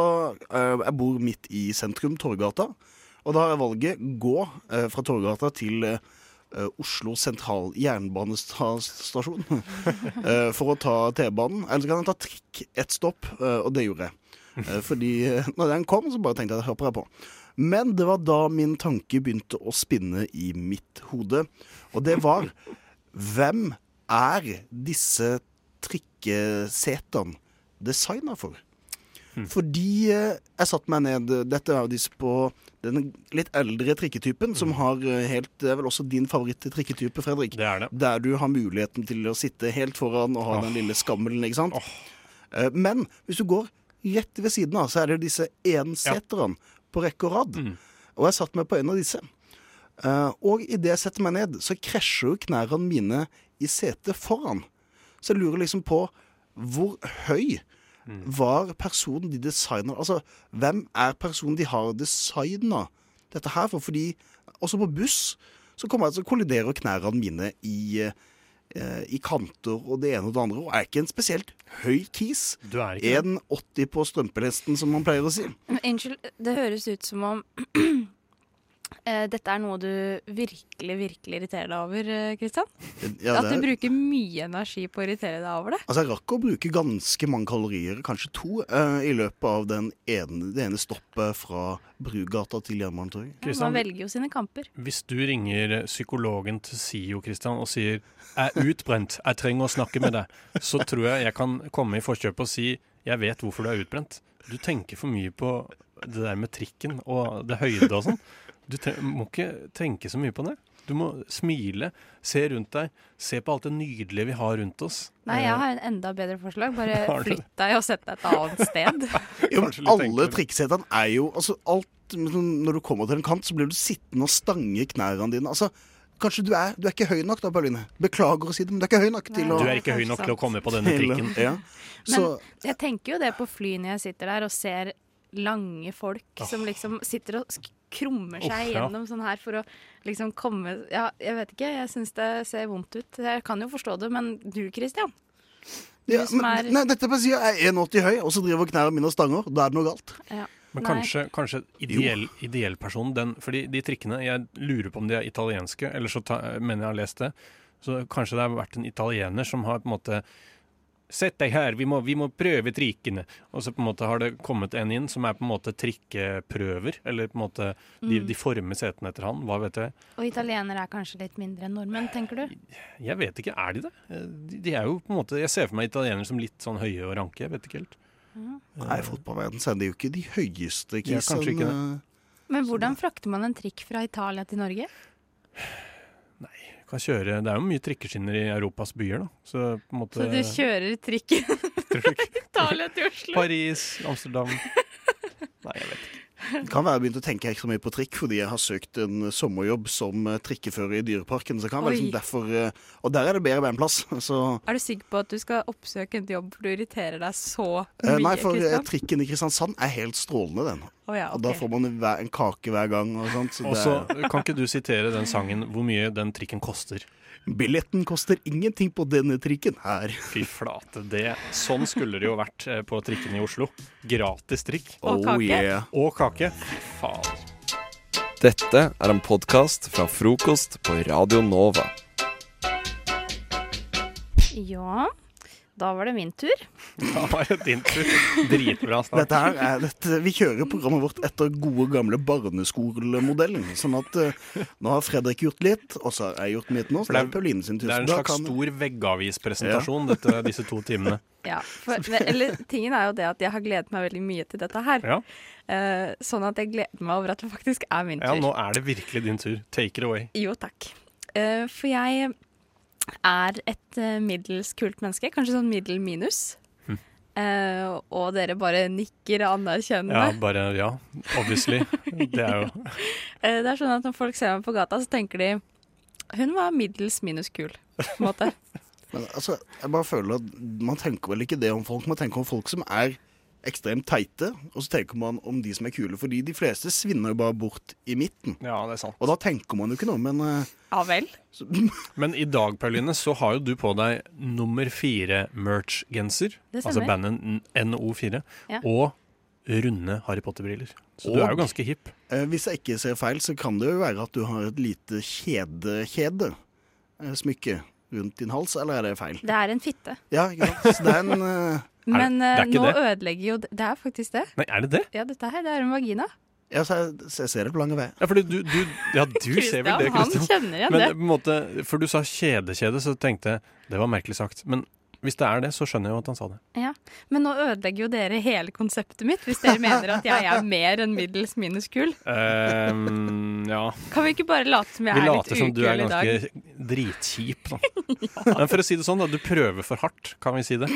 S9: eh, Jeg bor midt i sentrum, Torgata, og da er valget gå eh, fra Torgata til eh, eh, Oslo sentral jernbanestasjon eh, for å ta T-banen. Eller så kan jeg ta trikk ett stopp, eh, og det gjorde jeg. Eh, Fordi eh, når den kom, så bare tenkte jeg at hør på deg på. Men det var da min tanke begynte å spinne i mitt hode. Og det var Hvem er disse trikkesetene designa for? Fordi eh, jeg satte meg ned Dette er jo disse på den litt eldre trikketypen, som har eh, helt Det er vel også din favoritt-trikketype, Fredrik? Der du har muligheten til å sitte helt foran og ha den lille skammelen, ikke sant? Eh, Men hvis du går rett ved siden av, så er det disse enseterne på rekke og rad. Og jeg satte meg på en av disse. Eh, og idet jeg setter meg ned, så krasjer jo knærne mine i setet foran. Så jeg lurer liksom på hvor høy
S1: Mm.
S9: var personen de designer Altså, hvem er personen de har designa dette her for? Fordi også på buss så kommer jeg til å kollidere knærne mine i eh, i kanter og det ene og det andre. Og er ikke en spesielt høy kis.
S1: Du er
S9: 1,80 på strømpelesten, som man pleier å si.
S16: Unnskyld, det høres ut som om eh, dette er noe du virkelig, virkelig irriterer deg over, eh, Kristian.
S9: Ja,
S16: At
S9: det
S16: du
S9: er-
S16: bruker mye energi på å irritere deg over det.
S9: Altså, jeg rakk å bruke ganske mange kalorier, kanskje to, eh, i løpet av den ene, det ene stoppet fra Brugata til Jernbanetorget.
S16: Man velger jo sine kamper.
S1: Hvis du ringer psykologen til SIO Christian, og sier 'jeg er utbrent, jeg trenger å snakke med deg', så tror jeg jeg kan komme i forkjøpet og si 'jeg vet hvorfor du er utbrent'. Du tenker for mye på det der med trikken og det høyde og sånn. Du tre må ikke tenke så mye på det. Du må smile, se rundt deg, se på alt det nydelige vi har rundt oss.
S16: Nei, jeg har en enda bedre forslag. Bare
S1: Har du det?
S16: flytt deg og sett deg et annet sted.
S9: Jo, men alle trikksetene er jo altså, alt, sånn, Når du kommer til en kant, så blir du sittende og stange knærne dine. Altså, kanskje du er, du er ikke høy nok, da, Pauline. Beklager å si det, men du er ikke høy nok til å
S1: Du er ikke høy nok til å komme på denne
S9: Til å-
S1: trikken.
S9: Ja.
S16: Men
S9: Så
S16: jeg tenker jo det på fly når jeg sitter der og ser lange folk som liksom sitter og sk- krummer seg
S17: Uff, ja.
S16: gjennom sånn her for å liksom komme Ja, jeg vet ikke, jeg syns det ser vondt ut. Jeg kan jo forstå det, men du Christian? Du
S9: ja,
S16: som
S9: men,
S16: er
S9: Nei, dette bare sier jeg er 1,80 høy, og så driver knærne mine og stanger. Da er det noe galt.
S16: ja.
S1: Men
S16: Nei.
S1: kanskje, kanskje ideell, ideell person den, Fordi de trikkene, jeg lurer på om de er italienske Eller så ta, mener jeg har lest det Så kanskje det har vært en italiener som har på en måte Sett deg her, vi må, vi må prøve trikkene Og så på en måte har det kommet en inn Som er på en måte trikkeprøver Eller på en måte De,
S16: Mm.
S1: de former setene etter han, hva vet jeg
S16: Og italienere er kanskje litt mindre enn nordmenn, tenker du?
S1: Jeg vet ikke, er de det? Eh, De, de er jo på en måte Jeg ser for meg italienere som litt sånn høye og ranke Jeg vet ikke helt
S9: Nei, i fotballverden så er det jo ikke de høyeste
S1: Ja, kanskje ikke det.
S9: kissene.
S16: Men hvordan frakter man en trikk fra Italia til Norge?
S1: kan kjøre, Det er jo mye trikkeskinner i Europas byer da Så på en måte
S16: Så du kjører trikken fra Italia til Oslo?
S1: Paris, Amsterdam Nei, jeg vet ikke.
S9: Det kan være jeg begynte å tenke ikke så mye på trikk fordi jeg har søkt en sommerjobb som eh, trikkefører i Dyreparken. Så det kan være
S16: Oi.
S9: liksom derfor eh, Og der er det bedre beinplass. Så
S16: Er du sikker på at du skal oppsøke en jobb for du irriterer deg så
S9: Eh,
S16: mye?
S9: Nei, for eh,
S16: Christian?
S9: trikken i Kristiansand er helt strålende, den.
S16: Å ja,
S9: Og da
S16: ok.
S9: får man en, hver- en kake hver gang. Og sånt, så
S1: Og så
S9: det er-
S1: kan ikke du sitere den sangen hvor mye den trikken koster?
S9: Billetten koster ingenting på denne trikken her.
S1: Fy flate, det Sånn skulle det jo vært eh, på trikkene i Oslo. Gratis trikk.
S9: Og Oh, kake. yeah.
S1: Og kake. Fy faen.
S7: Dette er en podkast fra frokost på Radio Nova.
S16: Ja, da var det min tur.
S1: Da var det din tur. Dritbra snakk.
S9: Dette her er, dette, vi kjører programmet vårt etter gode gamle barneskolemodellen. Sånn at eh, nå har Fredrik gjort litt, og så har jeg gjort mitt nå. Så det er Pauline sin tur.
S1: Det er en
S9: Så da
S1: slags
S9: kan-
S1: stor veggavispresentasjon, dette, disse to timene.
S16: Ja, for, men- eller tingen er jo det at jeg har gledet meg veldig mye til dette her.
S1: Ja.
S16: Eh, sånn at jeg gleder meg over at det faktisk er min tur.
S1: Ja, nå er det virkelig din tur. Take it away.
S16: Jo, takk. Eh, for jeg er et eh, middels kult menneske, kanskje sånn middel minus.
S1: Hm.
S16: Eh, og dere bare nikker
S1: Ja,
S16: anerkjennende.
S1: bare Ja, obviously. Det er jo
S16: Eh, det er sånn at når folk ser meg på gata, så tenker de hun var middels minus kul. På en måte.
S9: Men altså, jeg bare føler at Man tenker vel ikke det om folk, man tenker om folk som er ekstremt teite. Og så tenker man om de som er kule, fordi de fleste svinner jo bare bort i midten.
S1: Ja, det er sant.
S9: Og da tenker man jo ikke noe, men eh,
S16: Ja vel.
S1: Men i dag, Pauline, så har jo du på deg nummer fire-merch-genser.
S16: Det stemmer.
S1: Altså bandet N- NO4.
S16: Ja.
S1: Og runde Harry Potter-briller. Så du
S9: Og-
S1: er jo ganske hipp.
S9: eh, hvis jeg ikke ser feil, så kan det jo være at du har et lite kjede-kjede. eh, Smykke rundt din hals, eller er det feil?
S16: Det er en fitte.
S9: Ja, ikke sant. Så det er en eh,
S16: Men eh, nå ødelegger jo Det er faktisk det.
S1: Nei, er det det?
S16: Ja, dette her, det er en vagina.
S9: Ja, så jeg, så jeg ser det på lange vei.
S1: Ja, fordi du, du, ja, du ser vel det,
S16: Christian, han
S1: Kristian.
S16: kjenner igjen
S1: Men
S16: det.
S1: på en måte, for du sa kjede-kjede, så tenkte jeg det var merkelig sagt. Men hvis det er det, så skjønner jeg jo at han sa det.
S16: Ja. Men nå ødelegger jo dere hele konseptet mitt, hvis dere mener at jeg er mer enn middels minus kul.
S1: Ehm, ja.
S16: Kan vi ikke bare late som jeg
S1: Vi
S16: er litt
S1: later som du er
S16: ukul i dag?
S1: ganske dritkjip, da. Men for å si det sånn, da. Du prøver for hardt, kan vi si det.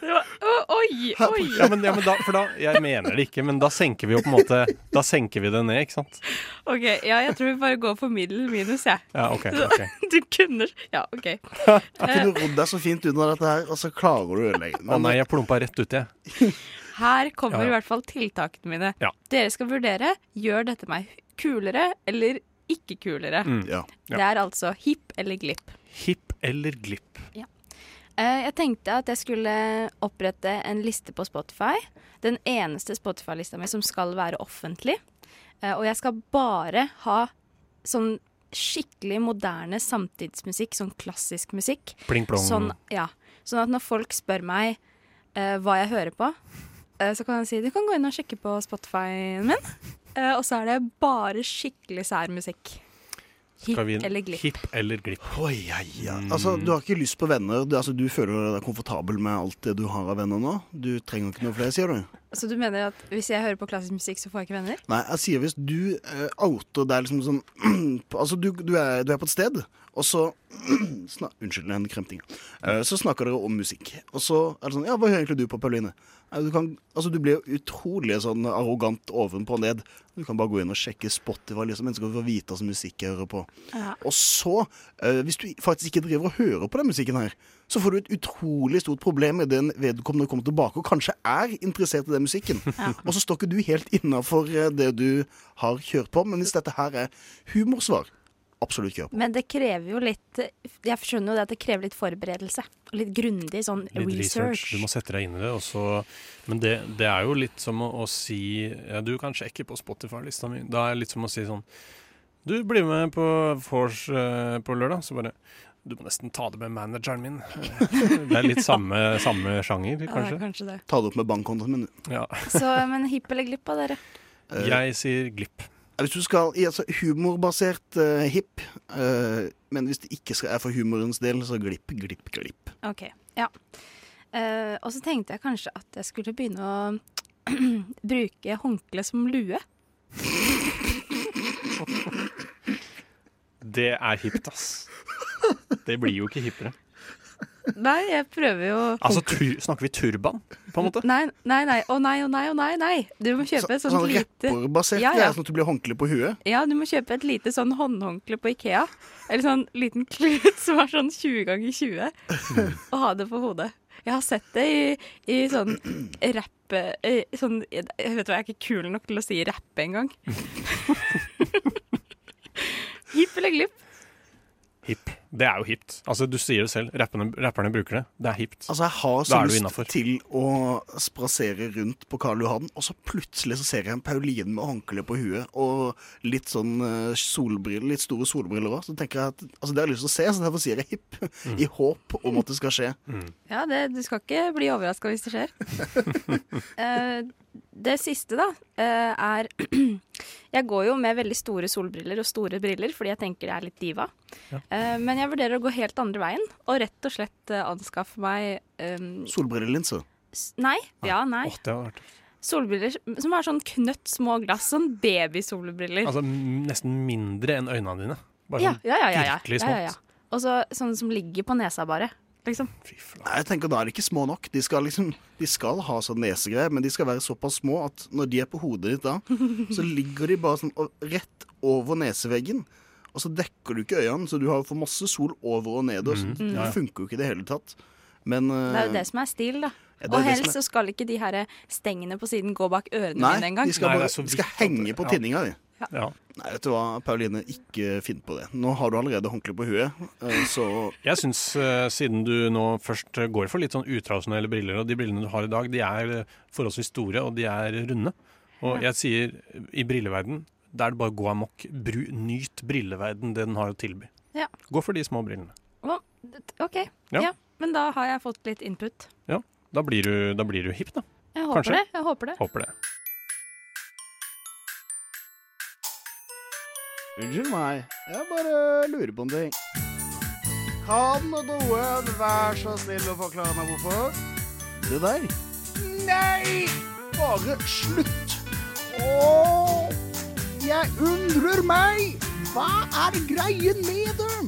S16: Det var- Å, Oi, oi!
S1: Ja, men, ja, men da, for da, jeg mener det ikke, men da senker vi jo på en måte Da senker vi det ned, ikke sant?
S16: OK, ja, jeg tror vi bare går for middel minus, jeg.
S1: Ja, ok, ok.
S16: Du kunne Ja, OK. Eh,
S9: Jeg kunne rodd deg så fint under dette her, og så klarer du å ødelegge.
S1: Å nei, jeg plumpa rett uti, jeg.
S16: Her kommer
S1: Ja, ja.
S16: i hvert fall tiltakene mine.
S1: Ja.
S16: Dere skal vurdere gjør dette meg kulere eller ikke kulere.
S1: Mm. Ja. Ja.
S16: Det er altså hipp eller glipp.
S1: Hipp eller glipp?
S16: Eh, Jeg tenkte at jeg skulle opprette en liste på Spotify. Den eneste Spotify-lista mi som skal være offentlig. Eh, Og jeg skal bare ha sånn skikkelig moderne samtidsmusikk, sånn klassisk musikk.
S1: Pling plong.
S16: Sånn, ja. sånn at når folk spør meg eh, hva jeg hører på, eh, så kan jeg si du kan gå inn og sjekke på Spotify-en min. Eh, og så er det bare skikkelig sær musikk. Hipp
S9: Skal vi-
S16: eller glipp.
S1: Hipp eller glipp?
S9: Oi, ei, ei. Altså, du har ikke lyst på venner. Du, altså, du føler deg komfortabel med alt det du har av venner nå? Du trenger ikke noe flere, sier du?
S16: Så du mener at hvis jeg hører på klassisk musikk, så får jeg ikke venner?
S9: Nei, jeg sier hvis du eh, outer deg liksom sånn Altså, du, du, er, du er på et sted, og så sna, Unnskyld, en kremting. Eh, så snakker dere om musikk. Og så er det sånn Ja, hva hører egentlig du på, Pauline? Nei, Du, kan, altså, du blir jo utrolig sånn arrogant ovenpå og ned. Du kan bare gå inn og sjekke Spotify, liksom, mennesker får vite hva slags musikk jeg hører på.
S16: Ja.
S9: Og så, eh, hvis du faktisk ikke driver og hører på den musikken her, så får du et utrolig stort problem med den vedkommende kommer tilbake og kanskje er interessert i den musikken. Og så står ikke du helt innafor eh, det du har kjørt på, men hvis dette her er humorsvar, absolutt kjør på.
S16: Men det krever jo litt Jeg skjønner jo det at det krever litt forberedelse. Og litt grundig sånn
S1: Litt research.
S16: research.
S1: Du må sette deg inn i det. Og så, men det, det er jo litt som å, å si ja, Du kan sjekke på Spotify-lista mi. Da er det litt som å si sånn Du blir med på vors eh, på lørdag. Så bare Du må nesten ta det med manageren min. Det er litt samme, samme sjanger,
S16: Ja,
S1: kanskje.
S16: kanskje det.
S9: Ta det opp med bankkontoen min. Eh,
S1: Ja.
S16: Så, men hipp eller glipp av dere?
S1: Jeg sier glipp.
S9: Hvis du skal i altså, humorbasert uh, hipp, eh, men hvis det ikke skal, er for humorens del, så glipp, glipp, glipp.
S16: OK. Ja. Eh, og så tenkte jeg kanskje at jeg skulle begynne å bruke håndkle som lue.
S1: Det er hipt, ass. Det blir jo ikke hippere.
S16: Nei, jeg prøver jo
S1: Altså, tur, snakker vi turban, på en måte?
S16: Nei, nei, nei. Å nei, å nei, å nei. nei. Du må kjøpe et sånt
S9: sånn
S16: lite
S9: rapperbasert
S16: Ja,
S9: ja,
S16: ja.
S9: sånn at du blir håndkle på huet.
S16: Ja, du må kjøpe et lite sånn håndhåndkle på Ikea. Eller sånn liten klut som er sånn 20 ganger 20. Og ha det på hodet. Jeg har sett det i, i sånn rappe... eh, Sånn, jeg vet du hva, jeg er ikke kul nok til å si rappe engang. Hipp eller glipp?
S1: Hipp. Det er jo hipt. Altså, du sier det selv. Rapperne, rapperne bruker det. Det er hipt.
S9: Altså, jeg har
S1: Da
S9: så
S1: er du
S9: lyst
S1: innenfor.
S9: til å spasere rundt på Karl Johan, og så plutselig så ser jeg en Pauline med håndkle på huet og litt sånn eh, solbriller, litt store solbriller òg. Så tenker jeg at altså, det har jeg lyst til å se, så derfor sier jeg hipp.
S1: Mm.
S9: I håp om at det skal skje.
S16: Ja, det, du skal ikke bli overraska hvis det skjer. Eh, det siste, da, eh, er Jeg går jo med veldig store solbriller og store briller fordi jeg tenker jeg er litt diva. Eh, men jeg vurderer å gå helt andre veien og rett og slett eh, anskaffe meg eh,
S9: Solbrillelinse.
S16: s- Nei.
S1: Ah,
S16: Ja, nei.
S1: Det hadde vært
S16: Solbriller som- som er sånn knøtt små glass. Sånn babysolbriller.
S1: Altså m- nesten mindre enn øynene dine. Bare
S16: ja,
S1: sånn
S16: ja, ja, ja, ja.
S1: virkelig
S16: ja, ja, ja.
S1: smått.
S16: Og så sånne som ligger på nesa, bare. Liksom.
S9: Nei, jeg tenker Da er de ikke små nok. De skal, liksom, de skal ha sånn nesegreier, men de skal være såpass små at når de er på hodet ditt da, så ligger de bare sånn og- rett over neseveggen. Og så dekker du ikke øynene, så du har for masse sol over og nedover. Så
S16: Mhm. Ja, ja.
S9: det funker jo ikke i det hele tatt. Men eh,
S16: Det er jo det som er stil, da.
S9: Ja, det er
S16: og
S9: det som
S16: helst
S9: er-
S16: så skal ikke de her stengene på siden gå bak ørene
S9: Nei,
S16: mine engang.
S9: de skal,
S16: altså,
S9: bare, de skal henge på
S16: ja.
S9: tinninga, de.
S1: Ja.
S9: Nei, vet du hva, Pauline, ikke finn på det. Nå har du allerede håndkle på huet, eh, så
S1: Jeg syns, eh, siden du nå først eh, går for litt sånn utradisjonelle briller, og de brillene du har i dag, de er eh, forholdsvis store, og de er runde. Og jeg sier, eh, i brilleverden, da er det bare å gå amok. Bru- Nyt brilleverden det den har å tilby.
S16: Ja.
S1: Gå for de små brillene.
S16: Hva? D- OK.
S1: Ja.
S16: Ja. men da har jeg fått litt input.
S1: Ja, da blir du, da blir du hipp, da.
S16: Jeg håper
S1: Kanskje.
S16: det. Jeg håper det.
S1: Håper det.
S17: Unnskyld meg, jeg bare lurer på en ting. Kan noen være så snill å forklare meg hvorfor?
S9: Det der
S17: Nei! Bare slutt! Åh, jeg undrer meg! Hva er greien med det?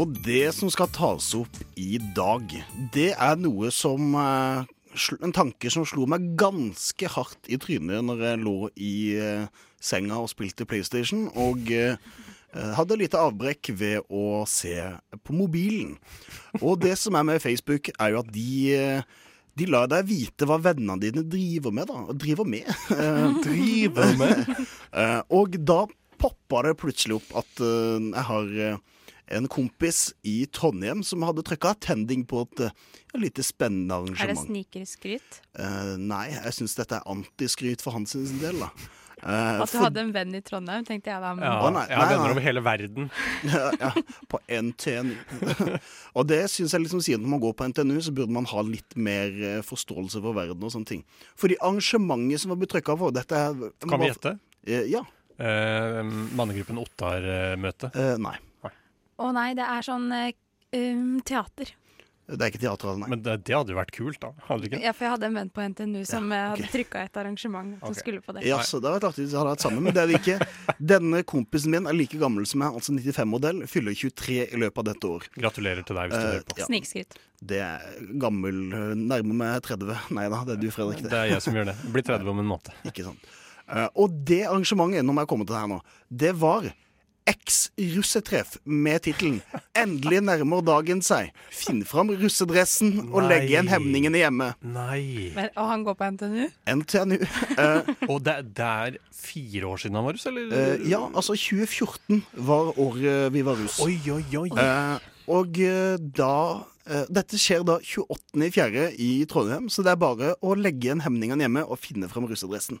S9: Og det som skal tas opp i dag, det er noe som eh, sl- En tanke som slo meg ganske hardt i trynet når jeg lå i eh, senga og spilte PlayStation, og eh, eh, hadde lite avbrekk ved å se på mobilen. Og det som er med Facebook, er jo at de eh, de lar deg vite hva vennene dine driver med, da. Driver med. Eh, driver med. Eh, og da poppa det plutselig opp at eh, jeg har eh, en kompis i Trondheim som hadde trykka attending på et eh, lite spennende
S16: Er det
S9: arrangement.
S16: snikerskryt?
S9: Eh, nei, jeg syns dette er antiskryt for hans del, da. Eh,
S16: At du
S9: for-
S16: hadde en venn i Trondheim, tenkte jeg da. men-
S1: Ja,
S9: Å, nei,
S1: jeg har
S9: nei,
S1: venner
S9: nei.
S1: over hele verden.
S9: ja, ja, på NTNU. og det syns jeg liksom sier at når man går på NTNU, så burde man ha litt mer eh, forståelse for verden og sånne ting. Fordi arrangementet som var betrykka på dette er,
S1: Kan vi gjette?
S9: Eh, ja.
S1: Eh, mannegruppen Ottar-møte?
S9: Eh, nei.
S16: Å nei, det er sånn eh, um, teater.
S9: Det er ikke teater, nei.
S1: Men det, det hadde jo vært kult, da. Hadde det ikke?
S16: Ja, for jeg hadde en venn på NTNU som eh, hadde trykket trykka et arrangement som
S1: Ok.
S16: skulle på det.
S9: Ja, så det hadde vært artig hvis vi hadde vært sammen, men det er vi ikke. Denne kompisen min er like gammel som meg, altså 95-modell, fyller 23 i løpet av dette år.
S1: Gratulerer til deg hvis du
S9: Eh,
S1: hører på.
S9: ja.
S16: Snikskryt.
S9: Det er gammel, nærmer meg 30. Nei da, det er du, Fredrik.
S1: Det er jeg som gjør det. Blir 30 om en måned.
S9: Ikke sant. Eh, og det arrangementet, nå må jeg komme til det her nå, det var Eks-russetreff med tittelen 'Endelig nærmer dagen seg'. Finn fram russedressen og legg igjen
S1: Nei.
S9: hemningene hjemme.
S1: Nei.
S16: Men, og han går på NTNU?
S9: NTNU.
S1: og det, det er fire år siden han var russ, eller?
S9: Eh, ja, altså 2014 var året vi var russ.
S1: Oi, oi, oi.
S9: Eh, og eh, da eh, Dette skjer da 28.4. i Trondheim, så det er bare å legge igjen hemningene hjemme og finne fram russedressen.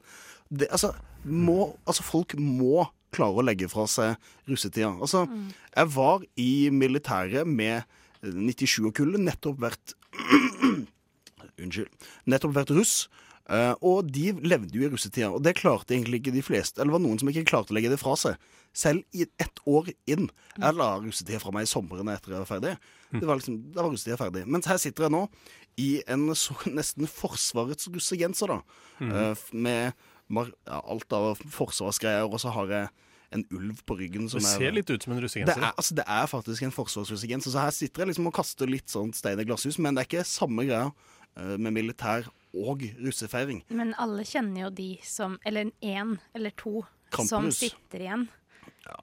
S9: Det, altså, må, altså, folk må klare å legge fra seg russetida. Altså, jeg var i militæret med eh, 97-kullet, nettopp vært Unnskyld. Nettopp vært russ. eh, og de levde jo i russetida, og det klarte egentlig ikke de fleste. Eller det var noen som ikke klarte å legge det fra seg. Selv i ett år inn. Jeg la russetida fra meg i sommeren etter jeg var ferdig. Det var liksom, da var russetida ferdig. Mens her sitter jeg nå i en så, nesten Forsvarets russegenser, da.
S18: Mhm.
S9: Eh, f- med mar ja, alt av forsvarsgreier, og så har jeg en ulv på ryggen som
S1: Det
S9: er-
S1: ser litt ut som en russegenser.
S9: Det er, altså, det er faktisk en forsvarsmusikk. Så her sitter jeg liksom og kaster litt sånn stein i glasshus, men det er ikke samme greia eh, med militær og russefeiring.
S16: Men alle kjenner jo de som Eller én eller to som
S9: Kamprus.
S16: sitter igjen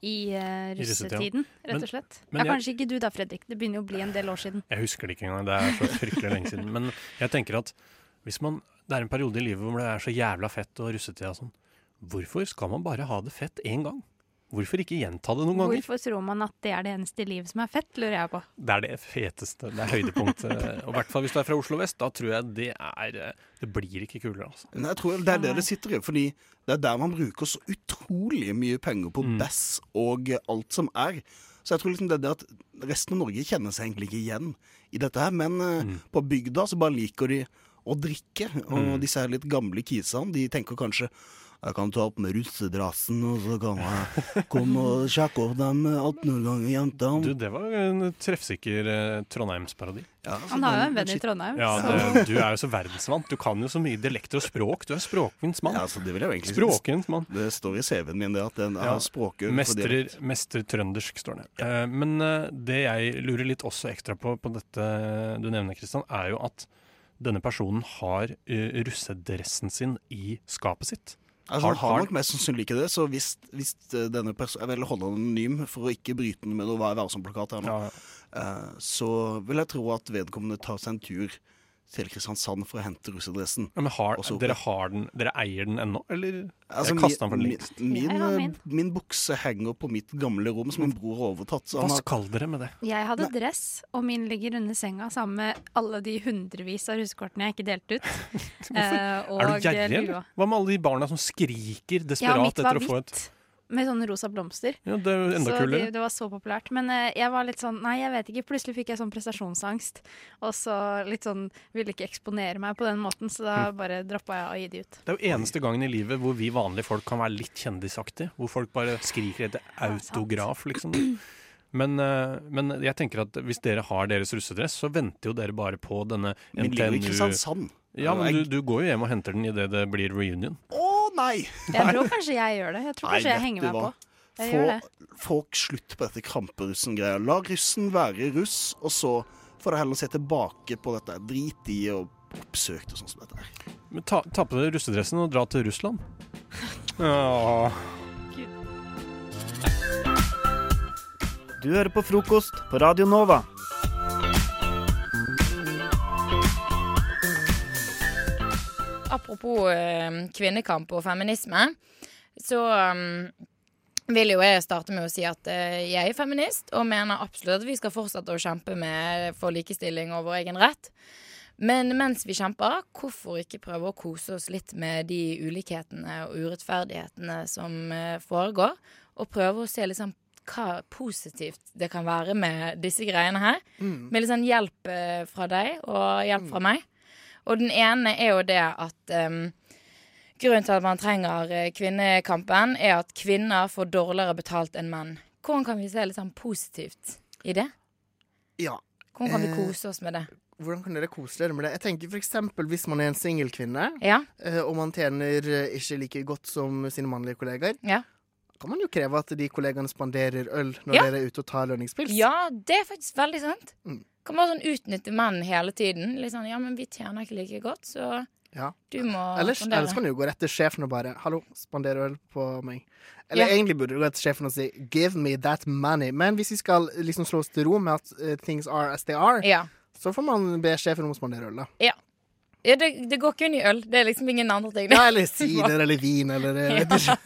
S16: i eh,
S1: I russetida.
S16: russetiden, rett
S1: Men-
S16: og slett.
S1: men
S16: ja,
S1: jeg-
S16: kanskje ikke du da, Fredrik. Det begynner jo å bli en del år siden.
S1: Jeg husker det ikke engang. Det er så fryktelig lenge siden. Men jeg tenker at hvis man Det er en periode i livet hvor det er så jævla fett og russetida og sånn. Hvorfor skal man bare ha det fett én gang? Hvorfor ikke gjenta det noen ganger?
S16: Hvorfor tror man at det er det eneste i livet som er fett, lurer jeg på.
S1: Det er det feteste. Det er høydepunktet. Og i hvert fall hvis du er fra Oslo vest. Da tror jeg det er eh, Det blir ikke kulere, altså.
S9: Nei, jeg tror Det er det det sitter i. Fordi det er der man bruker så utrolig mye penger på dass og alt som er. Så jeg tror liksom det er det at resten av Norge kjenner seg egentlig ikke igjen i dette her. Men eh, på bygda så bare liker de å drikke. Og
S1: Mm.
S9: disse her litt gamle kisene, de tenker kanskje jeg kan ta opp med russedrassen, og så kan jeg komme og sjekke opp de 18 år gamle jentene.
S1: Du, det var en treffsikker eh, trondheimsparodi.
S9: altså,
S16: Han har jo en venn i Trondheim,
S1: Ja,
S16: så-
S1: det, du er jo så verdensvant. Du kan jo så mye dialekter og språk. Du er språkvins mann.
S9: Ja, altså, det vil jeg jo egentlig
S1: Språkvins mann.
S9: Det står i CV-en min det at den
S1: Ja,
S9: er språkøvd.
S1: Mestrer, mestrer trøndersk, står det. Eh, men eh, det jeg lurer litt også ekstra på på dette du nevner, Kristian, er jo at denne personen har eh, russedressen sin i skapet sitt.
S9: Altså, han har nok mest sannsynlig ikke det, så hvis, hvis eh, denne personen Jeg vil holde den anonym for å ikke bryte den med noe Hva er væresomplakat her nå. Eh, så vil jeg tro at vedkommende tar seg en tur til Kristiansand for å hente russedressen.
S1: Ja, men har,
S9: Og så-
S1: dere har den, dere eier den ennå, eller?
S9: Altså,
S1: jeg kastet den for
S9: min,
S1: lengst.
S9: min, eh, min, min bukse henger på mitt gamle rom, som min bror har overtatt. så
S1: Hva
S9: han har-
S1: skal dere med det?
S16: Jeg hadde dress, og min ligger under senga sammen med alle de hundrevis av russekortene jeg ikke delte ut. Eh, og
S1: er du gjerrig,
S16: lua.
S1: eller? Hva med alle de barna som skriker
S16: Ja,
S1: desperat
S16: mitt var
S1: etter å få et
S16: hvitt, med sånne rosa blomster.
S1: Ja, det er jo enda
S16: så
S1: kulere.
S16: Det, det var så populært. Men eh, jeg var litt sånn, nei, jeg vet ikke. Plutselig fikk jeg sånn prestasjonsangst. Og så litt sånn, ville ikke eksponere meg på den måten, så da
S1: Hm.
S16: bare droppa jeg å gi de ut.
S1: Det er jo eneste gangen i livet hvor vi vanlige folk kan være litt kjendisaktige. Hvor folk bare skriker etter autograf, liksom. Men, eh, men jeg tenker at hvis dere har deres russedress, så venter jo dere bare på denne
S9: Men ligger jo i Kristiansand.
S1: Ja, men du, du går jo hjem og henter den idet det blir reunion.
S9: Å nei!
S16: Jeg tror kanskje jeg gjør det. Jeg tror
S9: Nei,
S16: kanskje jeg
S9: vet
S16: henger
S9: du
S16: meg
S9: hva?
S16: på. Jeg gjør det.
S9: Få folk slutt på dette kramperussen-greia. La russen være russ, og så får de heller se tilbake på dette. Drit i og oppsøkt og sånn som dette her.
S1: Men ta, ta på deg russedressen og dra til Russland. Åh.
S18: Du hører på frokost på Radio Nova.
S19: Apropos eh, kvinnekamp og feminisme, så um, vil jo jeg starte med å si at eh, jeg er feminist, og mener absolutt at vi skal fortsette å kjempe med for likestilling og vår egen rett. Men mens vi kjemper, hvorfor ikke prøve å kose oss litt med de ulikhetene og urettferdighetene som eh, foregår, og prøve å se liksom hva positivt det kan være med disse greiene her.
S20: Mm.
S19: Med litt sånn hjelp eh, fra deg og hjelp fra meg. Og den ene er jo det at em, grunnen til at man trenger eh, kvinnekampen, er at kvinner får dårligere betalt enn menn. Hvordan kan vi se litt sånn positivt i det?
S20: Ja.
S19: Hvordan kan vi
S20: Eh,
S19: kose oss med det?
S20: Hvordan kan dere kose dere med det? Jeg tenker for eksempel Hvis man er en singelkvinne,
S19: Ja.
S20: eh, og man tjener eh, ikke like godt som sine mannlige kollegaer, kan man jo kreve at de kollegaene spanderer øl når
S19: Ja.
S20: dere er ute og tar lønningspils.
S19: Ja, det er faktisk veldig sant. Kan bare sånn utnytte menn hele tiden. Litt sånn, ja, men vi tjener ikke like godt, så
S20: Ja.
S19: du må
S20: Ellers,
S19: spandere.
S20: ellers kan du jo gå rett til sjefen og bare 'hallo, spander øl på meg'. Eller
S19: Ja.
S20: egentlig burde du gå rett til sjefen og si 'give me that money'. Men hvis vi skal liksom slå oss til ro med at eh, things are as they are, så får man be sjefen om å spandere øl, da.
S19: Ja. ja det, det går kun i øl. Det er liksom ingen andre ting.
S20: Ja, eller sider eller vin eller eh, jeg vet ikke.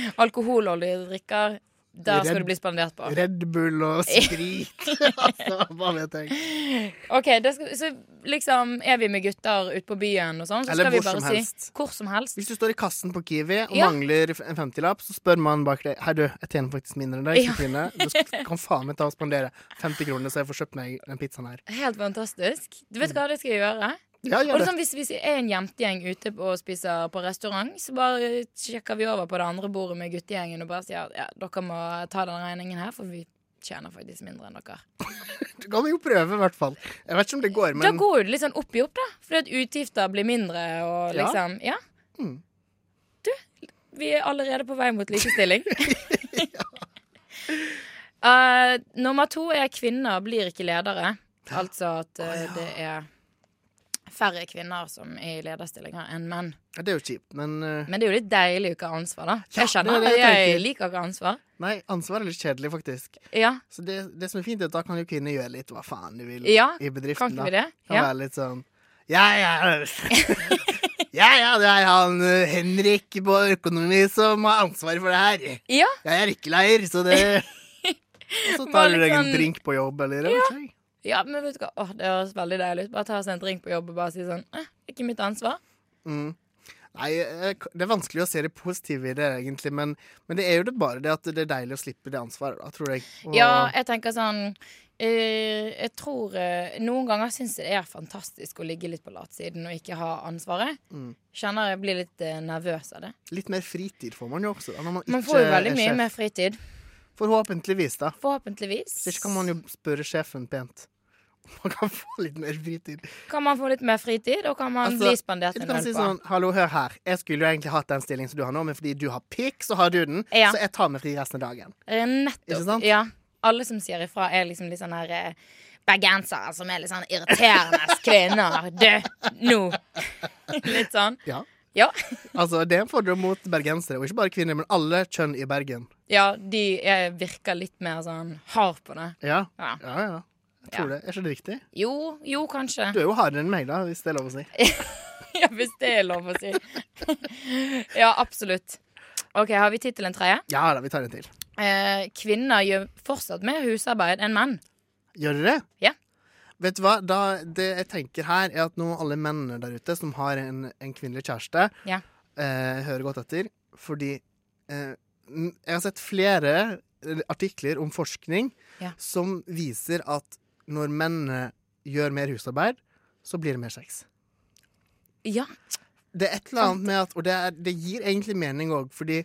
S19: Alkoholholdige drikker, der skal
S20: Red-
S19: du bli spandert på.
S20: Red Bull og Sprit. altså, hva vet jeg.
S19: OK, da skal, så liksom er vi med gutter ute på byen og sånn, så
S20: Eller
S19: skal vi
S20: hvor
S19: bare
S20: som
S19: si
S20: helst.
S19: hvor som helst.
S20: Hvis du står i kassen på Kiwi og
S19: Ja.
S20: mangler en 50-lapp, så spør man bak deg Hei, du, jeg tjener faktisk mindre enn deg.
S19: Ja.
S20: som kvinne. Du sk- kan faen meg ta og spandere 50 kroner, så jeg får kjøpt meg den pizzaen her.
S19: Helt fantastisk. Du vet hva det skal jeg gjøre?
S20: Ja, gjør
S19: og det.
S20: det.
S19: er Sånn, hvis vi er en jentegjeng ute på, og spiser på restaurant, så bare sjekker vi over på det andre bordet med guttegjengen og bare sier ja, dere må ta den regningen her, for vi tjener faktisk mindre enn dere.
S20: Du kan jo prøve, i hvert fall. Jeg vet ikke om det går,
S19: Da
S20: men
S19: går det litt sånn opp i opp, da. Fordi at utgifter blir mindre og
S20: Ja. Mm.
S19: liksom Ja. Du, vi er allerede på vei mot likestilling. Eh, nummer to er kvinner blir ikke ledere. Altså at eh, det er færre kvinner som er i lederstillinger enn menn.
S20: Ja, Det er jo kjipt, men eh,
S19: Men det er jo litt deilig å ikke ha ansvar, da.
S20: Ja,
S19: jeg kjenner
S20: det er det
S19: at jeg,
S20: jeg tenker.
S19: liker ikke ansvar.
S20: Nei, ansvar er litt kjedelig, faktisk.
S19: Ja.
S20: Så det, det som er fint, er at da kan jo kvinner gjøre litt hva faen de vil
S19: Ja,
S20: i bedriften.
S19: kan ikke vi
S20: da.
S19: det?
S20: Kan
S19: Ja.
S20: være litt sånn Ja, ja. Ja, ja, det er han eh, Henrik på økonomi som har ansvaret for det her.
S19: Ja.
S20: Jeg er rykkeleier, så det Og så
S19: Bare
S20: tar du deg en
S19: sånn-
S20: drink på jobb, eller jeg
S19: Ja.
S20: vet ikke.
S19: Ja, men vet du hva? Åh, det høres veldig deilig ut. Bare ta oss en drink på jobb og bare si sånn eh, det er Ikke mitt ansvar.
S20: Mm. Nei, eh, k- det er vanskelig å se det positive i det, egentlig, men, men det er jo det bare det at det er deilig å slippe det ansvaret, da, tror jeg. Og-
S19: Ja, jeg tenker sånn eh, Jeg tror eh, Noen ganger syns jeg det er fantastisk å ligge litt på latsiden og ikke ha ansvaret.
S20: Mm.
S19: Kjenner jeg blir litt eh, nervøs av det.
S20: Litt mer fritid får man jo også. Da, når man,
S19: Man
S20: ikke
S19: får jo veldig
S20: er
S19: mye
S20: sjef.
S19: mer fritid.
S20: Forhåpentligvis, da.
S19: Forhåpentligvis.
S20: Så ikke kan man jo spørre sjefen pent. Man kan få litt mer fritid.
S19: Kan man få litt mer fritid, og kan man
S20: Altså,
S19: bli spandert
S20: du
S19: en
S20: kan
S19: øl
S20: si
S19: på?
S20: sånn, Hallo, hør her. Jeg skulle jo egentlig hatt den stillingen som du har nå, men fordi du har pikk, så har du den.
S19: Ja.
S20: Så jeg tar meg fri resten av dagen.
S19: Eh, Nettopp.
S20: Ikke sant?
S19: Ja. Alle som sier ifra, er liksom litt sånn her eh, bergensere som er litt sånn irriterende kvinner. Du, nå! Litt sånn.
S20: Ja.
S19: Ja.
S20: altså, det er en fordel mot bergensere, og ikke bare kvinner, men alle kjønn i Bergen.
S19: Ja, de eh, virker litt mer sånn hard på det.
S20: Ja,
S19: Ja.
S20: ja. ja. Jeg tror
S19: Ja.
S20: det. Er ikke det riktig?
S19: Jo, jo, kanskje.
S20: Du er jo hardere enn meg, da, hvis det er lov å si.
S19: Ja, hvis det er lov å si. ja, absolutt. OK, har vi tid til en tredje?
S20: Ja da, vi tar en til.
S19: Eh, kvinner gjør fortsatt mer husarbeid enn menn.
S20: Gjør dere det?
S19: Ja.
S20: Vet du hva? Da, det jeg tenker her, er at nå alle mennene der ute som har en, en kvinnelig kjæreste,
S19: Ja.
S20: eh, hører godt etter. Fordi eh, n- jeg har sett flere eh, artikler om forskning
S19: Ja.
S20: som viser at når mennene gjør mer husarbeid, så blir det mer sex.
S19: Ja.
S20: Det er et eller annet med at Og det, er, det gir egentlig mening òg, fordi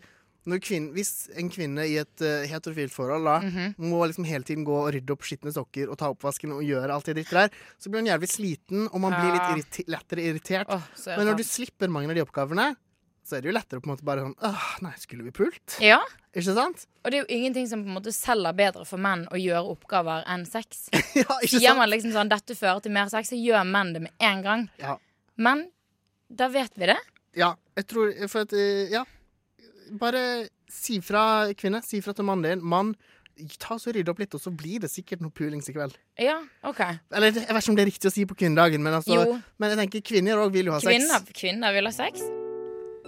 S20: når kvinn- hvis en kvinne i et eh, heterofilt forhold da,
S19: Mhm.
S20: må liksom hele tiden gå og rydde opp skitne sokker og ta oppvasken og gjøre alt det dritt der, så blir hun jævlig sliten, og man blir litt
S19: Ja.
S20: irriti lettere irritert.
S19: så er det
S20: Men når du
S19: sant.
S20: slipper mange av de oppgavene, så er det jo lettere å på en måte bare sånn Åh, nei, skulle vi pult?
S19: Ja.
S20: Ikke sant?
S19: Og det er jo ingenting som på en måte selger bedre for menn å gjøre oppgaver enn sex.
S20: ikke
S19: Sier man liksom sånn 'dette fører til mer sex', så gjør menn det med en gang.
S20: Ja.
S19: Men da vet vi det.
S20: Ja, jeg tror For at eh, Ja. Bare si fra, kvinne. Si fra til mannen din. Mann, ta så rydde opp litt, og så blir det sikkert noe pulings i kveld.
S19: Ja, OK.
S20: Eller jeg vet ikke om det er riktig å si på kvinnedagen, men, altså,
S19: Jo.
S20: men jeg tenker kvinner òg vil jo ha
S19: Kvinner,
S20: sex.
S19: kvinner vil ha sex.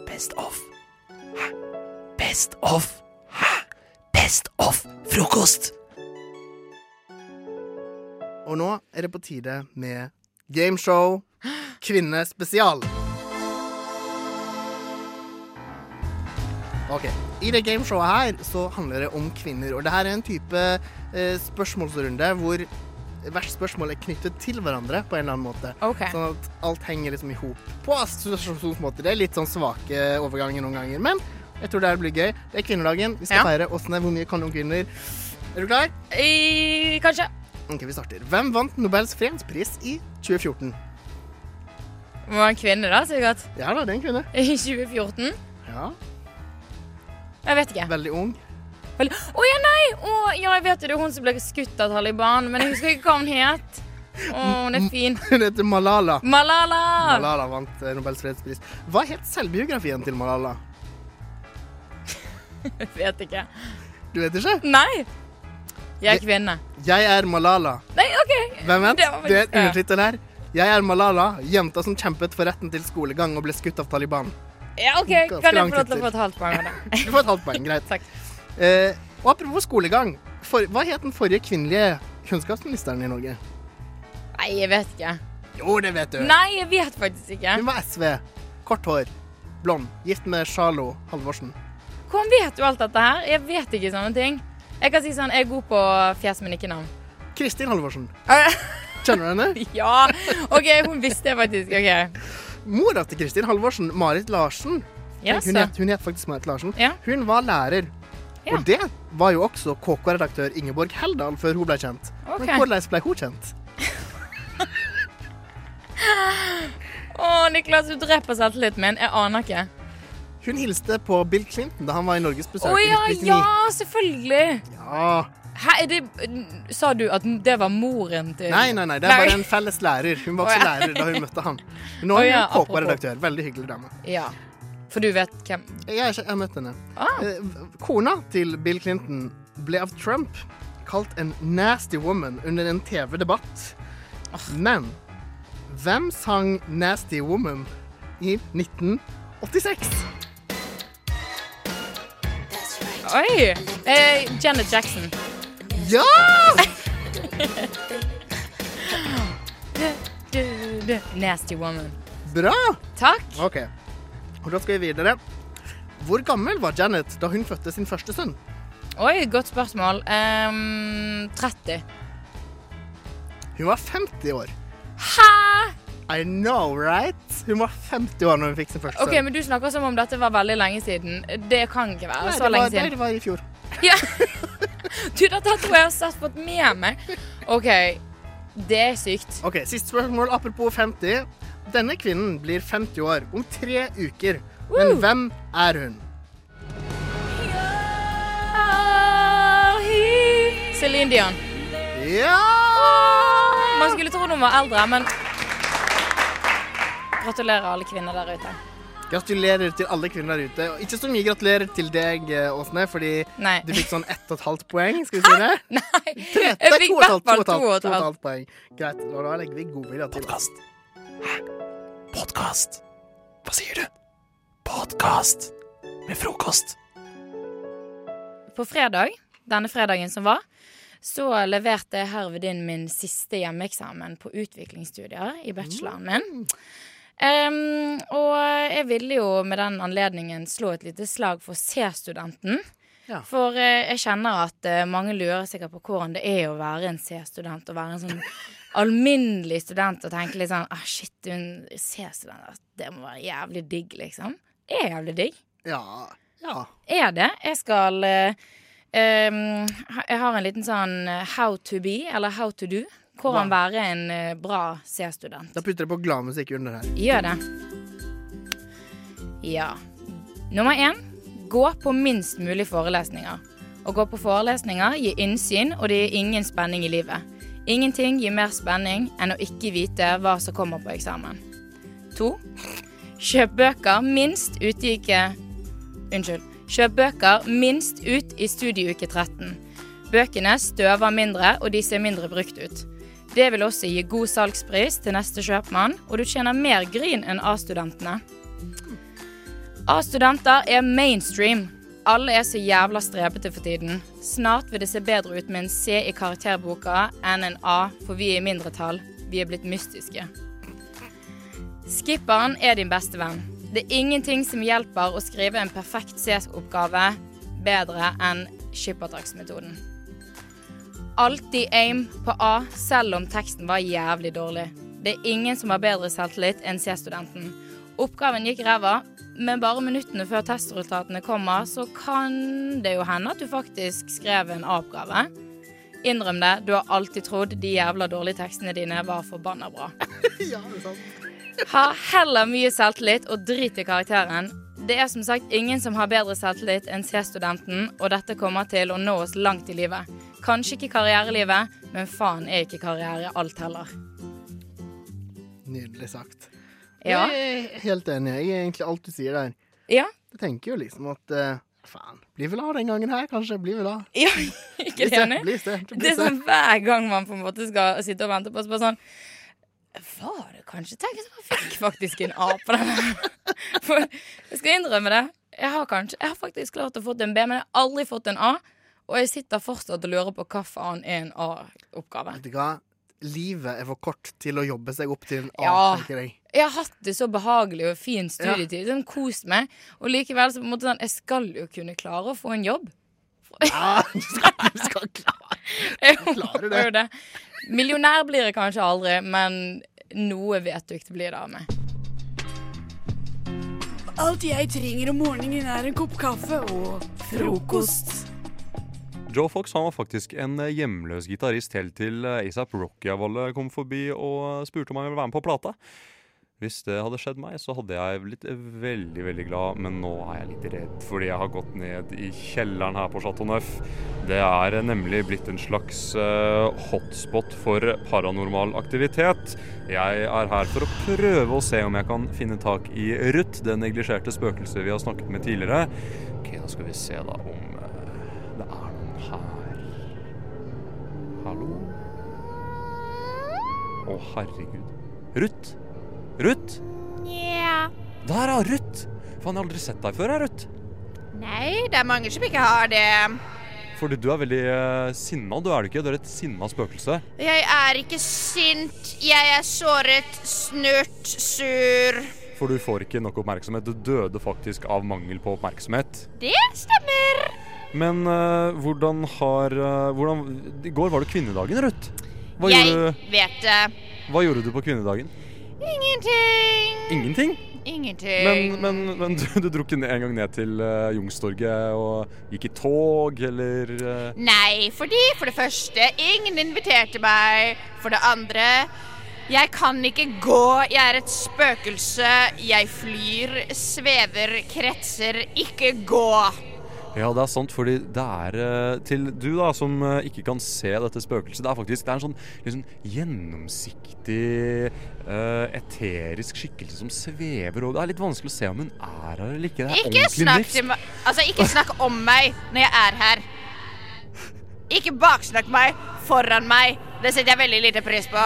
S5: Best of. Hæ? Best of. Hæ? Best of frokost.
S20: Og nå er det på tide med gameshow kvinnespesial. Ok, I det gameshowet her så handler det om kvinner. Og det her er en type eh, spørsmålsrunde hvor hvert spørsmål er knyttet til hverandre på en eller annen måte.
S19: Ok.
S20: Sånn at alt henger liksom i hop på assosiasjonsmåter. Det er litt sånn svake overganger noen ganger, men jeg tror det her blir gøy. Det er kvinnedagen. Vi skal feire åssen er hvor mye kan om kvinner. Er du klar?
S19: I, kanskje.
S20: Ok, vi starter. Hvem vant Nobels fredspris i 2014?
S19: Må være en kvinne, da, sikkert.
S20: Ja da, det er en kvinne.
S19: I 2014.
S20: Ja.
S19: Jeg vet ikke.
S20: Veldig ung.
S19: Vel- Å ja, nei! Å, ja, jeg vet jo det er hun som ble skutt av Taliban, men jeg husker ikke hva hun het. Å, hun er fin.
S20: Hun Mm, heter Malala.
S19: Malala!
S20: Malala vant eh, Nobels fredspris. Hva het selvbiografien til Malala?
S19: Jeg vet ikke.
S20: Du vet ikke?
S19: Nei. Jeg er kvinne.
S20: Jeg er Malala.
S19: Nei, OK.
S20: Hvem vet?
S19: Det
S20: Det er
S19: var faktisk- ja.
S20: undertittel her. Jeg er Malala, jenta som kjempet for retten til skolegang og ble skutt av Taliban.
S19: Ja, OK.
S20: Ganske
S19: Kan jeg
S20: lang
S19: få lov til å
S20: tittel.
S19: få et halvt poeng av det?
S20: Du får et halvt poeng, greit. Eh, og apropos skolegang, for, hva het den forrige kvinnelige kunnskapsministeren i Norge?
S19: Nei, jeg vet ikke.
S20: Jo, det vet du.
S19: Nei, jeg vet faktisk ikke.
S20: Hun var SV. Kort hår. Blond. Gift med Charlo Halvorsen.
S19: Hvordan vet du alt dette her? Jeg vet ikke sånne ting. Jeg kan si sånn, jeg er god på fjes, men ikke navn.
S20: Kristin Halvorsen. Kjenner du henne?
S19: Ja, OK, hun visste jeg faktisk. OK.
S20: Mora til Kristin Halvorsen, Marit Larsen
S19: Ja,
S20: Hun
S19: så.
S20: het, hun het faktisk Marit Larsen.
S19: Ja.
S20: Hun var lærer.
S19: Ja.
S20: Og det var jo også KK-redaktør Ingeborg Heldal før hun ble kjent.
S19: Ok.
S20: Men hvordan ble hun kjent?
S19: Å, Niklas, du dreper selvtilliten min. Jeg aner ikke.
S20: Hun hilste på Bill Clinton da han var i Norges
S19: Å
S20: besøk
S19: ja,
S20: i 1999. Ah.
S19: ja, selvfølgelig.
S20: Ja.
S19: Hæ, er det, sa du at det var moren til
S20: Nei, nei, nei, det var en felles lærer. Hun var også
S19: Eh, Å, ja.
S20: lærer da hun møtte han. Men nå
S19: Å,
S20: er
S19: ja,
S20: hun
S19: apropos.
S20: KK-redaktør. Veldig hyggelig dame.
S19: Ja. For du vet hvem
S20: Jeg har ikke jeg har møtt henne.
S19: Ah.
S20: Eh, Kona til Bill Clinton ble av Trump kalt en nasty woman under en
S19: Ah.
S20: TV-debatt. Men hvem sang 'Nasty Woman' i 1986.
S19: Oi! Eh, Janet Jackson.
S20: Ja!
S19: Du, du, Nasty woman.
S20: Bra!
S19: Takk.
S20: Ok. Og da skal vi videre. Hvor gammel var Janet da hun fødte sin første sønn?
S19: Oi, godt spørsmål. Ehm, 30.
S20: Hun var 50 år.
S19: Hæ?
S20: I know, right? Hun var 50 år når hun fikk sin første
S19: OK,
S20: sønn.
S19: men du snakker som om dette var veldig lenge siden. Det kan ikke være
S20: Nei,
S19: så
S20: det
S19: lenge
S20: var- nei,
S19: siden.
S20: det var i fjor.
S19: Ja. Du, dette tror jeg har satt fått med meg. OK, det er sykt.
S20: Ok, Siste spørsmål apropos 50. Denne kvinnen blir 50 år om tre uker. Men hvem er hun?
S19: Celine Dion.
S20: Ja!
S19: Man skulle tro hun var eldre, men Gratulerer alle kvinner der ute.
S20: Gratulerer til alle kvinner der ute. Og ikke så mye gratulerer til deg, eh, Åsne, fordi
S19: Nei.
S20: du fikk sånn 1,5 poeng. Skal vi si det?
S19: Nei!
S20: Tre,
S19: Jeg
S20: nei, to
S19: fikk
S20: og
S19: i
S20: et halvt,
S19: hvert fall
S20: to og et halvt,
S19: to og et
S20: to og et
S19: halvt.
S20: halvt poeng. Greit. Og da legger vi godvilje til. Podkast.
S5: Podkast. Hva sier du? Podkast med frokost.
S19: På fredag, denne fredagen som var, så leverte jeg herved inn min siste hjemmeeksamen på utviklingsstudier i bacheloren min. Em, og jeg ville jo med den anledningen slå et lite slag for C-studenten.
S20: Ja.
S19: For eh, jeg kjenner at eh, mange lurer sikkert på hvordan det er å være en C-student. Å være en sånn alminnelig student og tenke litt sånn ah, Shit, hun C-student, ass, det må være jævlig digg, liksom. Det er jævlig digg.
S20: Ja. Ja.
S19: Er det. Jeg skal eh, em, ha- Jeg har en liten sånn eh, how to be, eller how to do. Hvordan være en eh, bra C-student.
S20: Da putter jeg på gladmusikk under her.
S19: Gjør det. Ja. Nummer én gå på minst mulig forelesninger. Å gå på forelesninger gir innsyn, og det gir ingen spenning i livet. Ingenting gir mer spenning enn å ikke vite hva som kommer på eksamen. To kjøp bøker minst utgike Unnskyld. Kjøp bøker minst ut i studieuke 13. Bøkene støver mindre, og de ser mindre brukt ut. Det vil også gi god salgspris til neste kjøpmann, og du tjener mer gryn enn A-studentene. A-studenter er mainstream. Alle er så jævla strebete for tiden. Snart vil det se bedre ut med en C i karakterboka enn en A, for vi er i mindretall. Vi er blitt mystiske. Skipperen er din beste venn. Det er ingenting som hjelper å skrive en perfekt CS-oppgave bedre enn skippertaksmetoden. Alltid aim på A, selv om teksten var jævlig dårlig. Det er ingen som har bedre selvtillit enn C-studenten. Oppgaven gikk ræva, men bare minuttene før testresultatene kommer, så kan det jo hende at du faktisk skrev en A-oppgave. Innrøm det, du har alltid trodd de jævla dårlige tekstene dine var forbanna bra.
S20: Ja, det er sant.
S19: Ha heller mye selvtillit og drit i karakteren. Det er som sagt ingen som har bedre selvtillit enn C-studenten, og dette kommer til å nå oss langt i livet. Kanskje ikke karrierelivet, men faen er ikke karriere alt heller.
S20: Nydelig sagt.
S19: Ja.
S20: Jeg er helt enig. Jeg er egentlig alt du sier der.
S19: Ja.
S20: Jeg tenker jo liksom at eh, faen, blir vel av den gangen her, kanskje. Blir vel av.
S19: Ja, Ikke det, enig?
S20: Blir se,
S19: Det er sånn hver gang man på en måte skal sitte og vente på, så bare sånn Var det kanskje Tenk at jeg fikk faktisk en A på den her. For jeg skal innrømme det. Jeg har kanskje Jeg har faktisk klart å få en B, men jeg har aldri fått en A. Og jeg sitter fortsatt og lurer på hva faen er en A-oppgave.
S20: Vet du hva? Livet er for kort til å jobbe seg opp til en A,
S19: Ja.
S20: tenker jeg.
S19: Jeg har hatt det så behagelig og fin studietid. Sånn, kost meg. Og likevel så på en måte sånn Jeg skal jo kunne klare å få en jobb.
S20: Ja,
S19: du skal, klare det. det. Millionær blir jeg kanskje aldri, men noe vet du ikke det blir det av meg.
S15: Alt jeg trenger om morgenen, er en kopp kaffe og frokost.
S21: Joe Fox han var faktisk en eh, hjemløs gitarist helt til eh, ASAP Rocky-Valle kom forbi og eh, spurte om han ville være med på plata. Hvis det hadde skjedd meg, så hadde jeg blitt veldig veldig glad, men nå er jeg litt redd fordi jeg har gått ned i kjelleren her på Chateau Neuf. Det er eh, nemlig blitt en slags eh, hotspot for paranormal aktivitet. Jeg er her for å prøve å se om jeg kan finne tak i Ruth, det neglisjerte spøkelset vi har snakket med tidligere. Ok, da skal vi se da om eh, det er noen her. Hallo? Å, herregud. Ruth? Ruth?
S22: Nja,
S21: Der, ja! Ruth! Faen, jeg har aldri sett deg før, jeg, Ruth.
S19: Nei, det er mange som ikke har det.
S21: Fordi du er veldig eh, sinna, du er du ikke? Du er et sinna spøkelse.
S19: Jeg er ikke sint. Jeg er såret, snurt, sur.
S21: For du får ikke nok oppmerksomhet. Du døde faktisk av mangel på oppmerksomhet.
S19: Det stemmer.
S21: Men eh, hvordan har eh, hvordan, I går var det kvinnedagen, Ruth. Hva,
S19: jeg
S21: gjorde,
S19: vet det.
S21: hva gjorde du på kvinnedagen?
S19: Ingenting.
S21: Ingenting?
S19: Ingenting.
S21: Men, men, men du, du dro ikke ned- en gang ned til eh, Youngstorget og gikk i tog, eller eh,
S19: Nei, fordi for det første, ingen inviterte meg. For det andre, jeg kan ikke gå. Jeg er et spøkelse. Jeg flyr, svever, kretser. Ikke gå.
S21: Ja, det er sant, fordi det er eh, Til du da, som eh, ikke kan se dette spøkelset, det er faktisk det er en sånn liksom, gjennomsiktig, eh, eterisk skikkelse som svever over Det er litt vanskelig å se om hun er her eller ikke. Det er
S19: Ikke
S21: ordentlig
S19: snakk,
S21: nifst.
S19: til meg, altså, ikke snakk om meg når jeg er her. Ikke baksnakk meg foran meg. Det setter jeg veldig lite pris på.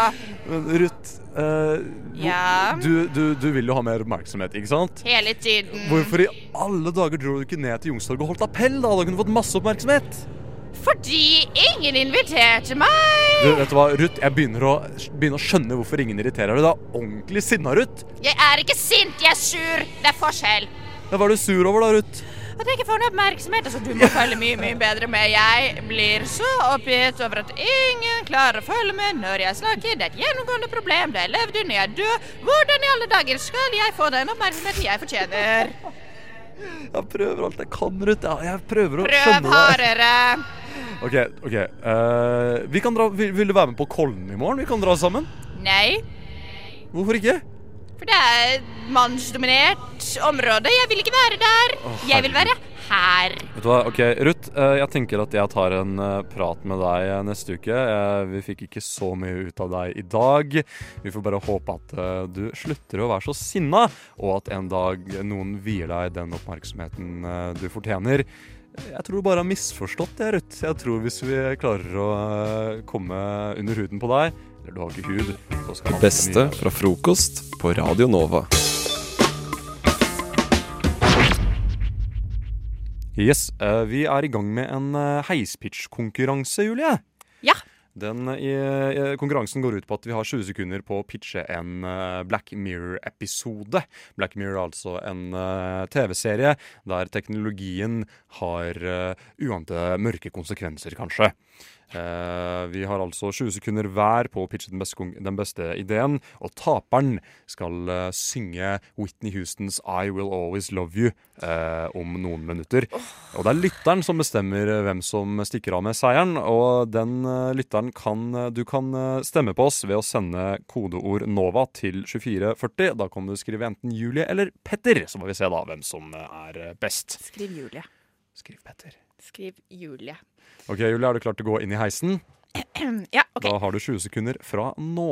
S21: Men Ruth, eh, hvor-
S19: Ja?
S21: du, du, du vil jo ha mer oppmerksomhet, ikke sant?
S19: Hele tiden.
S21: Hvorfor i alle dager dro du ikke ned til Youngstorget og holdt appell? Da hadde hun fått masse oppmerksomhet.
S19: Fordi ingen inviterte meg.
S21: Du, vet du hva, Ruth, jeg begynner å, begynner å skjønne hvorfor ingen irriterer deg. Du er ordentlig sinna, Ruth.
S19: Jeg er ikke sint, jeg er sur. Det er forskjell.
S21: Ja, Hva er du sur over, da, Ruth?
S19: At jeg ikke får noe oppmerksomhet. Altså, du må følge mye, mye bedre med. Jeg blir så oppgitt over at ingen klarer å følge med når jeg snakker. Det er et gjennomgående problem. Det er levd under, jeg er død. Hvordan i alle dager skal jeg få den oppmerksomheten jeg fortjener?
S21: Jeg prøver alt jeg kan, Ruth. Jeg, jeg prøver å
S19: Prøv
S21: skjønne deg.
S19: hardere.
S21: OK, ok. eh, vi kan dra, vil, vil du være med på Kollen i morgen? Vi kan dra sammen.
S19: Nei,
S21: Hvorfor ikke?
S19: for det er et mannsdominert område. Jeg vil ikke være der.
S21: Å,
S19: Jeg vil være her.
S21: Vet du hva, ok, Ruth, eh, jeg tenker at jeg tar en eh, prat med deg eh, neste uke. Eh, Vi fikk ikke så mye ut av deg i dag. Vi får bare håpe at eh, du slutter å være så sinna, og at en dag noen vier deg den oppmerksomheten eh, du fortjener. Jeg tror du bare har misforstått det, Ruth. Jeg tror hvis vi klarer å eh, komme under huden på deg, eller du har ikke hud, så skal
S7: Det beste fra frokost på Radio Nova.
S21: Yes, eh, Vi er i gang med en eh, heispitch-konkurranse, Julie.
S19: Ja.
S21: Den eh, i- i- konkurransen går ut på at vi har 20 sekunder på å pitche en eh, Black Mirror-episode. Black Mirror er altså en eh, TV-serie der teknologien har eh, uante mørke konsekvenser, kanskje. Eh, Vi har altså 20 sekunder hver på å pitche den beste, kon- den beste ideen, og taperen skal eh, synge Whitney Houstons 'I Will Always Love You' eh, om noen minutter. Og det er lytteren som bestemmer eh, hvem som stikker av med seieren, og den eh, lytteren kan eh, Du kan eh, stemme på oss ved å sende kodeord NOVA til 2440. Da kan du skrive enten Julie eller Petter, så får vi se da hvem som eh, er eh, best.
S22: Skriv Julie.
S21: Skriv Petter.
S22: Skriv Julie.
S21: OK, Julie, er du klar til å gå inn i heisen?
S22: Ja, OK.
S21: Da har du 20 sekunder fra nå.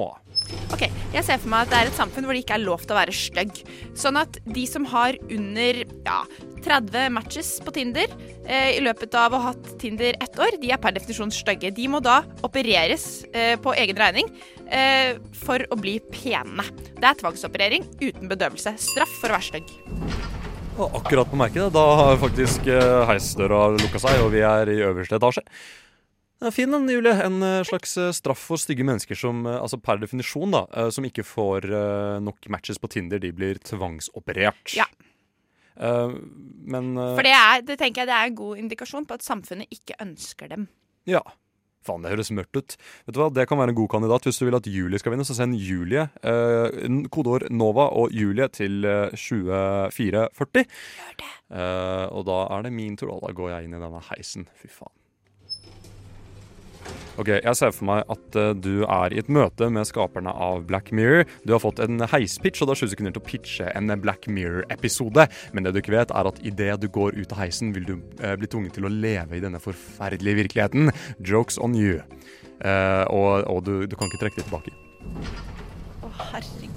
S22: Ok, Jeg ser for meg at det er et samfunn hvor det ikke er lov til å være stygg. Sånn at de som har under ja, 30 matches på Tinder eh, i løpet av å ha hatt Tinder ett år, de er per definisjon stygge. De må da opereres eh, på egen regning eh, for å bli pene. Det er tvangsoperering uten bedøvelse. Straff for å være stygg.
S21: Og akkurat på merket, da har faktisk eh, heisdøra lukka seg, og vi er i øverste etasje. Ja, fin den, Julie. En eh, slags eh, straff for stygge mennesker som eh, altså per definisjon da, eh, som ikke får eh, nok matches på Tinder, de blir tvangsoperert.
S22: Ja.
S21: Eh, Men eh,
S22: For det, er, det tenker jeg det er en god indikasjon på at samfunnet ikke ønsker dem.
S21: Ja. Faen, det høres mørkt ut. Vet du hva, Det kan være en god kandidat. Hvis du vil at Julie skal vinne, så send Julie, eh, n- kodeord NOVA og Julie til eh, 2440. Eh, og da er det min tur, og da går jeg inn i denne heisen. Fy faen. Ok, Jeg ser for meg at eh, du er i et møte med skaperne av Black Mirror. Du har fått en heispitch, og du har 20 sekunder til å pitche en Black Mirror-episode. Men det du ikke vet, er at idet du går ut av heisen, vil du eh, bli tvunget til å leve i denne forferdelige virkeligheten. Jokes on you. Eh, og og du, du kan ikke trekke det tilbake.
S22: Å, herregud.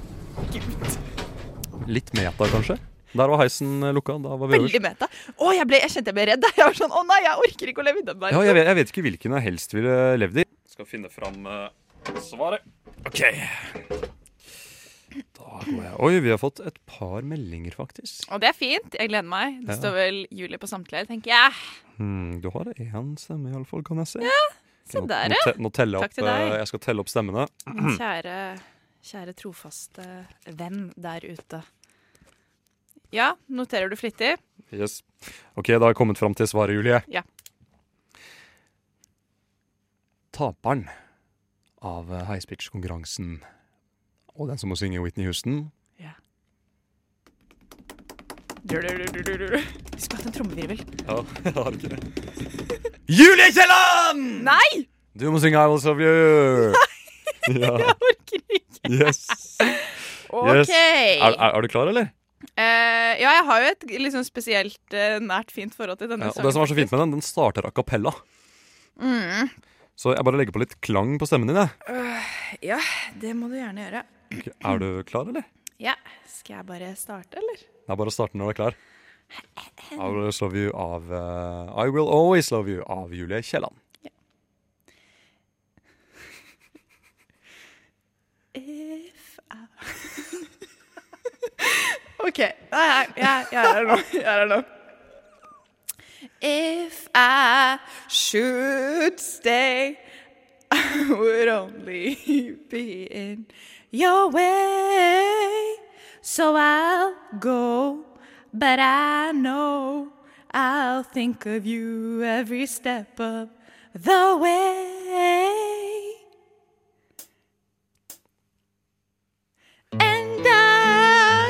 S21: Litt meta, kanskje? Der var heisen eh, lukka. Da var vi
S22: Veldig meta. Å, jeg, ble, jeg kjente jeg ble redd. Jeg var sånn Å nei, jeg orker ikke å leve i den verden.
S21: Ja, jeg, vet, jeg vet ikke hvilken jeg helst ville levd i.
S2: Skal finne fram eh, svaret.
S21: OK. Da går jeg. Oi, vi har fått et par meldinger, faktisk.
S22: Og det er fint. Jeg gleder meg. Det
S21: Ja.
S22: står vel Julie på samtale, tenker jeg.
S21: Hmm, du har én stemme, iallfall, kan jeg se.
S22: Ja, se
S21: Nå-
S22: der,
S21: nå
S22: ja.
S21: te- Nå teller jeg
S22: Takk
S21: opp,
S22: til deg.
S21: eh, jeg skal telle opp stemmene.
S22: Min kjære, kjære trofaste venn der ute. Ja, noterer du flittig?
S21: Yes. OK, da har jeg kommet fram til svaret, Julie.
S22: Ja.
S21: Taperen av eh, High Speech-konkurransen og den som må synge Whitney Houston
S22: Du, du, du, du, du, du. Vi skulle hatt en trommevirvel.
S21: Ja, jeg har ikke det. Julie Kielland!
S22: Nei!
S21: Du må synge I Will Serve You. Ja. Jeg
S22: orker ikke.
S21: Yes. Yes.
S22: OK.
S21: Er, er, er du klar, eller?
S22: Eh, ja, jeg har jo et litt sånn spesielt eh, nært fint forhold til denne
S21: Ja, og det som var så fint med den, den starter a cappella.
S22: Mm.
S21: Så jeg bare legger på litt klang på stemmen din. jeg.
S22: Øh, ja, det må du gjerne gjøre.
S21: Ok, Er du klar, eller?
S22: Ja, Skal jeg bare starte, eller?
S21: Det er bare å starte når du er klar. I Will Always Love You av eh, I Will Always Love You av Julie Kielland.
S22: If I OK. Nei, jeg, jeg, jeg er her nå. Jeg er her nå. If I should stay, I would only be in your way. So I'll go, but I know I'll think of you every step of the way. And I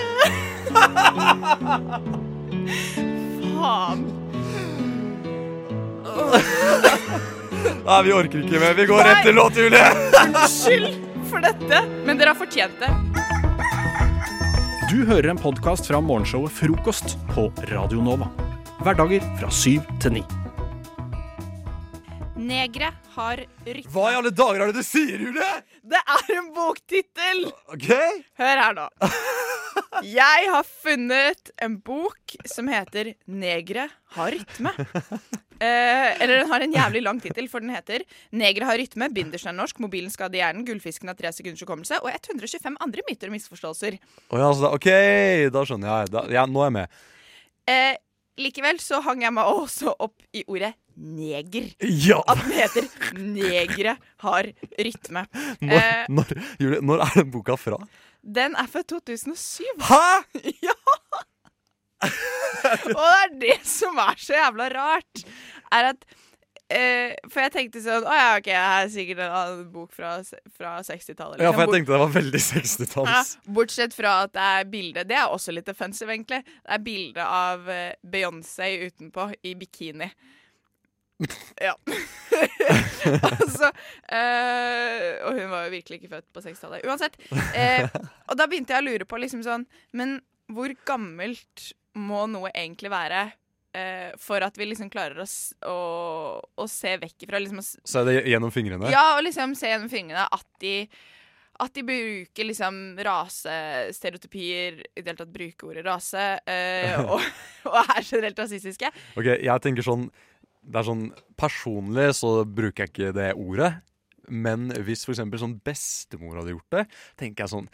S22: Faen.
S21: Nei, vi orker ikke mer. Vi går rett til låt, Julie.
S22: Unnskyld for dette, men dere har fortjent det.
S1: Du hører en podkast fra morgenshowet Frokost på Radio Nova. Hverdager fra syv til ni.
S22: Negre har rykte.
S21: Hva i alle dager er det du sier, Julie?
S22: Det er en boktittel!
S21: Ok?
S22: Hør her nå. Jeg har funnet en bok som heter 'Negre har rytme'. Eh, eller den har en jævlig lang tittel, for den heter 'Negre har rytme', bindersen er norsk, mobilen skader hjernen, gullfisken har tre sekunders hukommelse og 125 andre myter og misforståelser.
S21: Å ja, så da, OK, da skjønner jeg. Da, ja, nå er jeg med.
S22: Eh, likevel så hang jeg meg også opp i ordet neger.
S21: Ja.
S22: At den heter 'Negre har rytme'.
S21: Når,
S22: Eh,
S21: når, Julie, når er den boka fra?
S22: den er fra 2007.
S21: Hæ?!
S22: Ja! Og det er det som er så jævla rart, er at eh, For jeg tenkte sånn Å ja, OK, det her er sikkert en annen bok fra, fra 60-tallet.
S21: Ja, for jeg
S22: liksom.
S21: tenkte det var veldig 60-talls.
S22: Ja, bortsett fra at det er bilde Det er også litt offensive, egentlig. Det er bilde av eh, Beyoncé utenpå i bikini. Ja. altså eh, Og hun var jo virkelig ikke født på 60-tallet. Uansett. eh, og da begynte jeg å lure på liksom sånn Men hvor gammelt må noe egentlig være eh, for at vi liksom klarer å, s- å, å se vekk ifra liksom, å s-
S21: Så er det gjennom fingrene?
S22: ja, og liksom se gjennom fingrene at de at de bruker liksom rasestereotypier, i det hele tatt bruker ordet rase, eh, og, og er generelt rasistiske.
S21: Ok, jeg tenker sånn Det er sånn Personlig så bruker jeg ikke det ordet. Men hvis for eksempel sånn bestemor hadde gjort det, tenker jeg sånn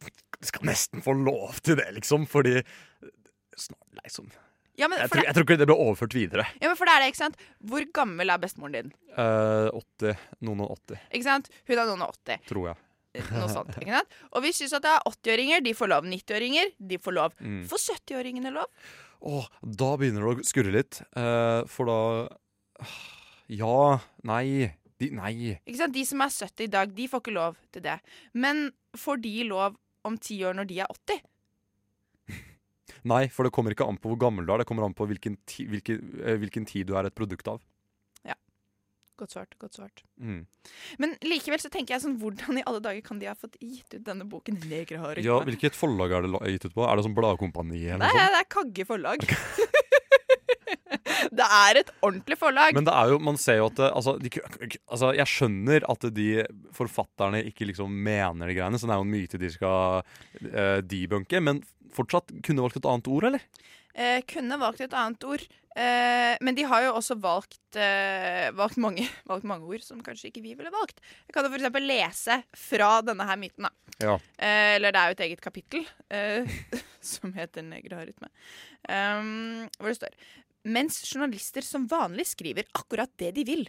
S21: Du skal nesten få lov til det, liksom, fordi Snart, liksom.
S22: Ja, men
S21: Jeg
S22: for
S21: tror,
S22: det-
S21: jeg tror ikke det ble overført videre.
S22: Ja, men for det er det, ikke sant? Hvor gammel er bestemoren din?
S21: Eh, 80. Noen og 80,
S22: Ikke sant? Hun er noen og 80.
S21: tror jeg.
S22: Eh, Noe sånt, ikke sant? Og vi syns at det er 80-åringer, de får lov. 90-åringer, de får lov.
S21: Mm.
S22: Får 70-åringene lov?
S21: Åh, da begynner det å skurre litt. eh, for da ah, Ja, nei de, Nei.
S22: Ikke sant? De som er 70 i dag, de får ikke lov til det. Men får de lov om ti år når de er 80?
S21: Nei, for det kommer ikke an på hvor gammel du er, det kommer an på hvilken, ti, hvilken, eh, hvilken tid du er et produkt av.
S22: Ja. Godt svart. Godt svart.
S21: Mm.
S22: Men likevel så tenker jeg sånn, hvordan i alle dager kan de ha fått gitt ut denne boken? Negre har rytme?
S21: Ja, Hvilket forlag er det la- gitt ut på? Er det sånn Bladkompaniet? eller
S22: Nei,
S21: noe sånt?
S22: det er Kagge forlag. det er et ordentlig forlag.
S21: Men det er jo, man ser jo at det, altså, de, ku- ku- altså, Jeg skjønner at de forfatterne ikke liksom mener de greiene, så det er jo en myte de skal eh, debunke. Men fortsatt kunne valgt et annet ord, eller?
S22: Eh, kunne valgt et annet ord. Eh, men de har jo også valgt, eh, valgt, mange, valgt mange ord som kanskje ikke vi ville valgt. Jeg kan jo for eksempel lese fra denne her myten. da.
S21: Ja.
S22: Eh, eller det er jo et eget kapittel eh, som heter 'Negre har rytme'. Um, hvor det står Mens journalister som vanlig skriver akkurat det de vil,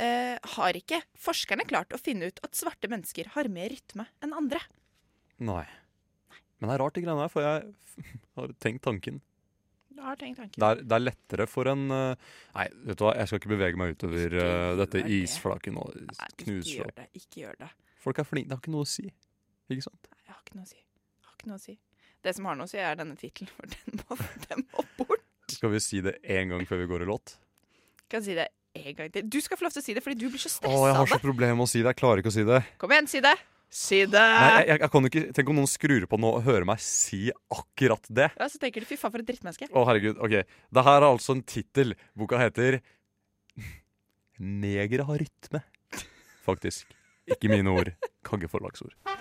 S22: eh, har ikke forskerne klart å finne ut at svarte mennesker har mer rytme enn andre.
S21: Nei. Men det er rart, de greiene her, for jeg har tenkt tanken.
S22: Jeg har tenkt tanken.
S21: Det er, det er lettere for en eh, Nei, vet du hva, jeg skal ikke bevege meg utover eh, dette
S22: gjør det.
S21: isflaket nå.
S22: Ikke
S21: Knuser
S22: gjør
S21: opp.
S22: det. Ikke gjør det.
S21: Folk er flinke, det har ikke noe å si. Ikke sant?
S22: Jeg har ikke noe å si. Jeg har ikke noe å si. Det som har noe å si, er denne tittelen, for den må, den må bort.
S21: Skal vi si det én gang før vi går i låt?
S22: Kan si det en gang til. Du skal få lov til å si det, fordi du blir så
S21: Å,
S22: stressa
S21: jeg har
S22: av
S21: så
S22: det.
S21: problemer med å si det. Jeg klarer ikke å si det.
S22: Kom igjen, si det! Si det!
S21: Nei, jeg, jeg, jeg kan jo ikke, Tenk om noen skrur på nå og hører meg si akkurat det.
S22: Ja, så tenker du fy faen for et drittmenneske.
S21: Å, herregud. Ok. Det her er altså en tittel. Boka heter Negere har rytme. Faktisk. Ikke mine ord. Kagge forlagsord.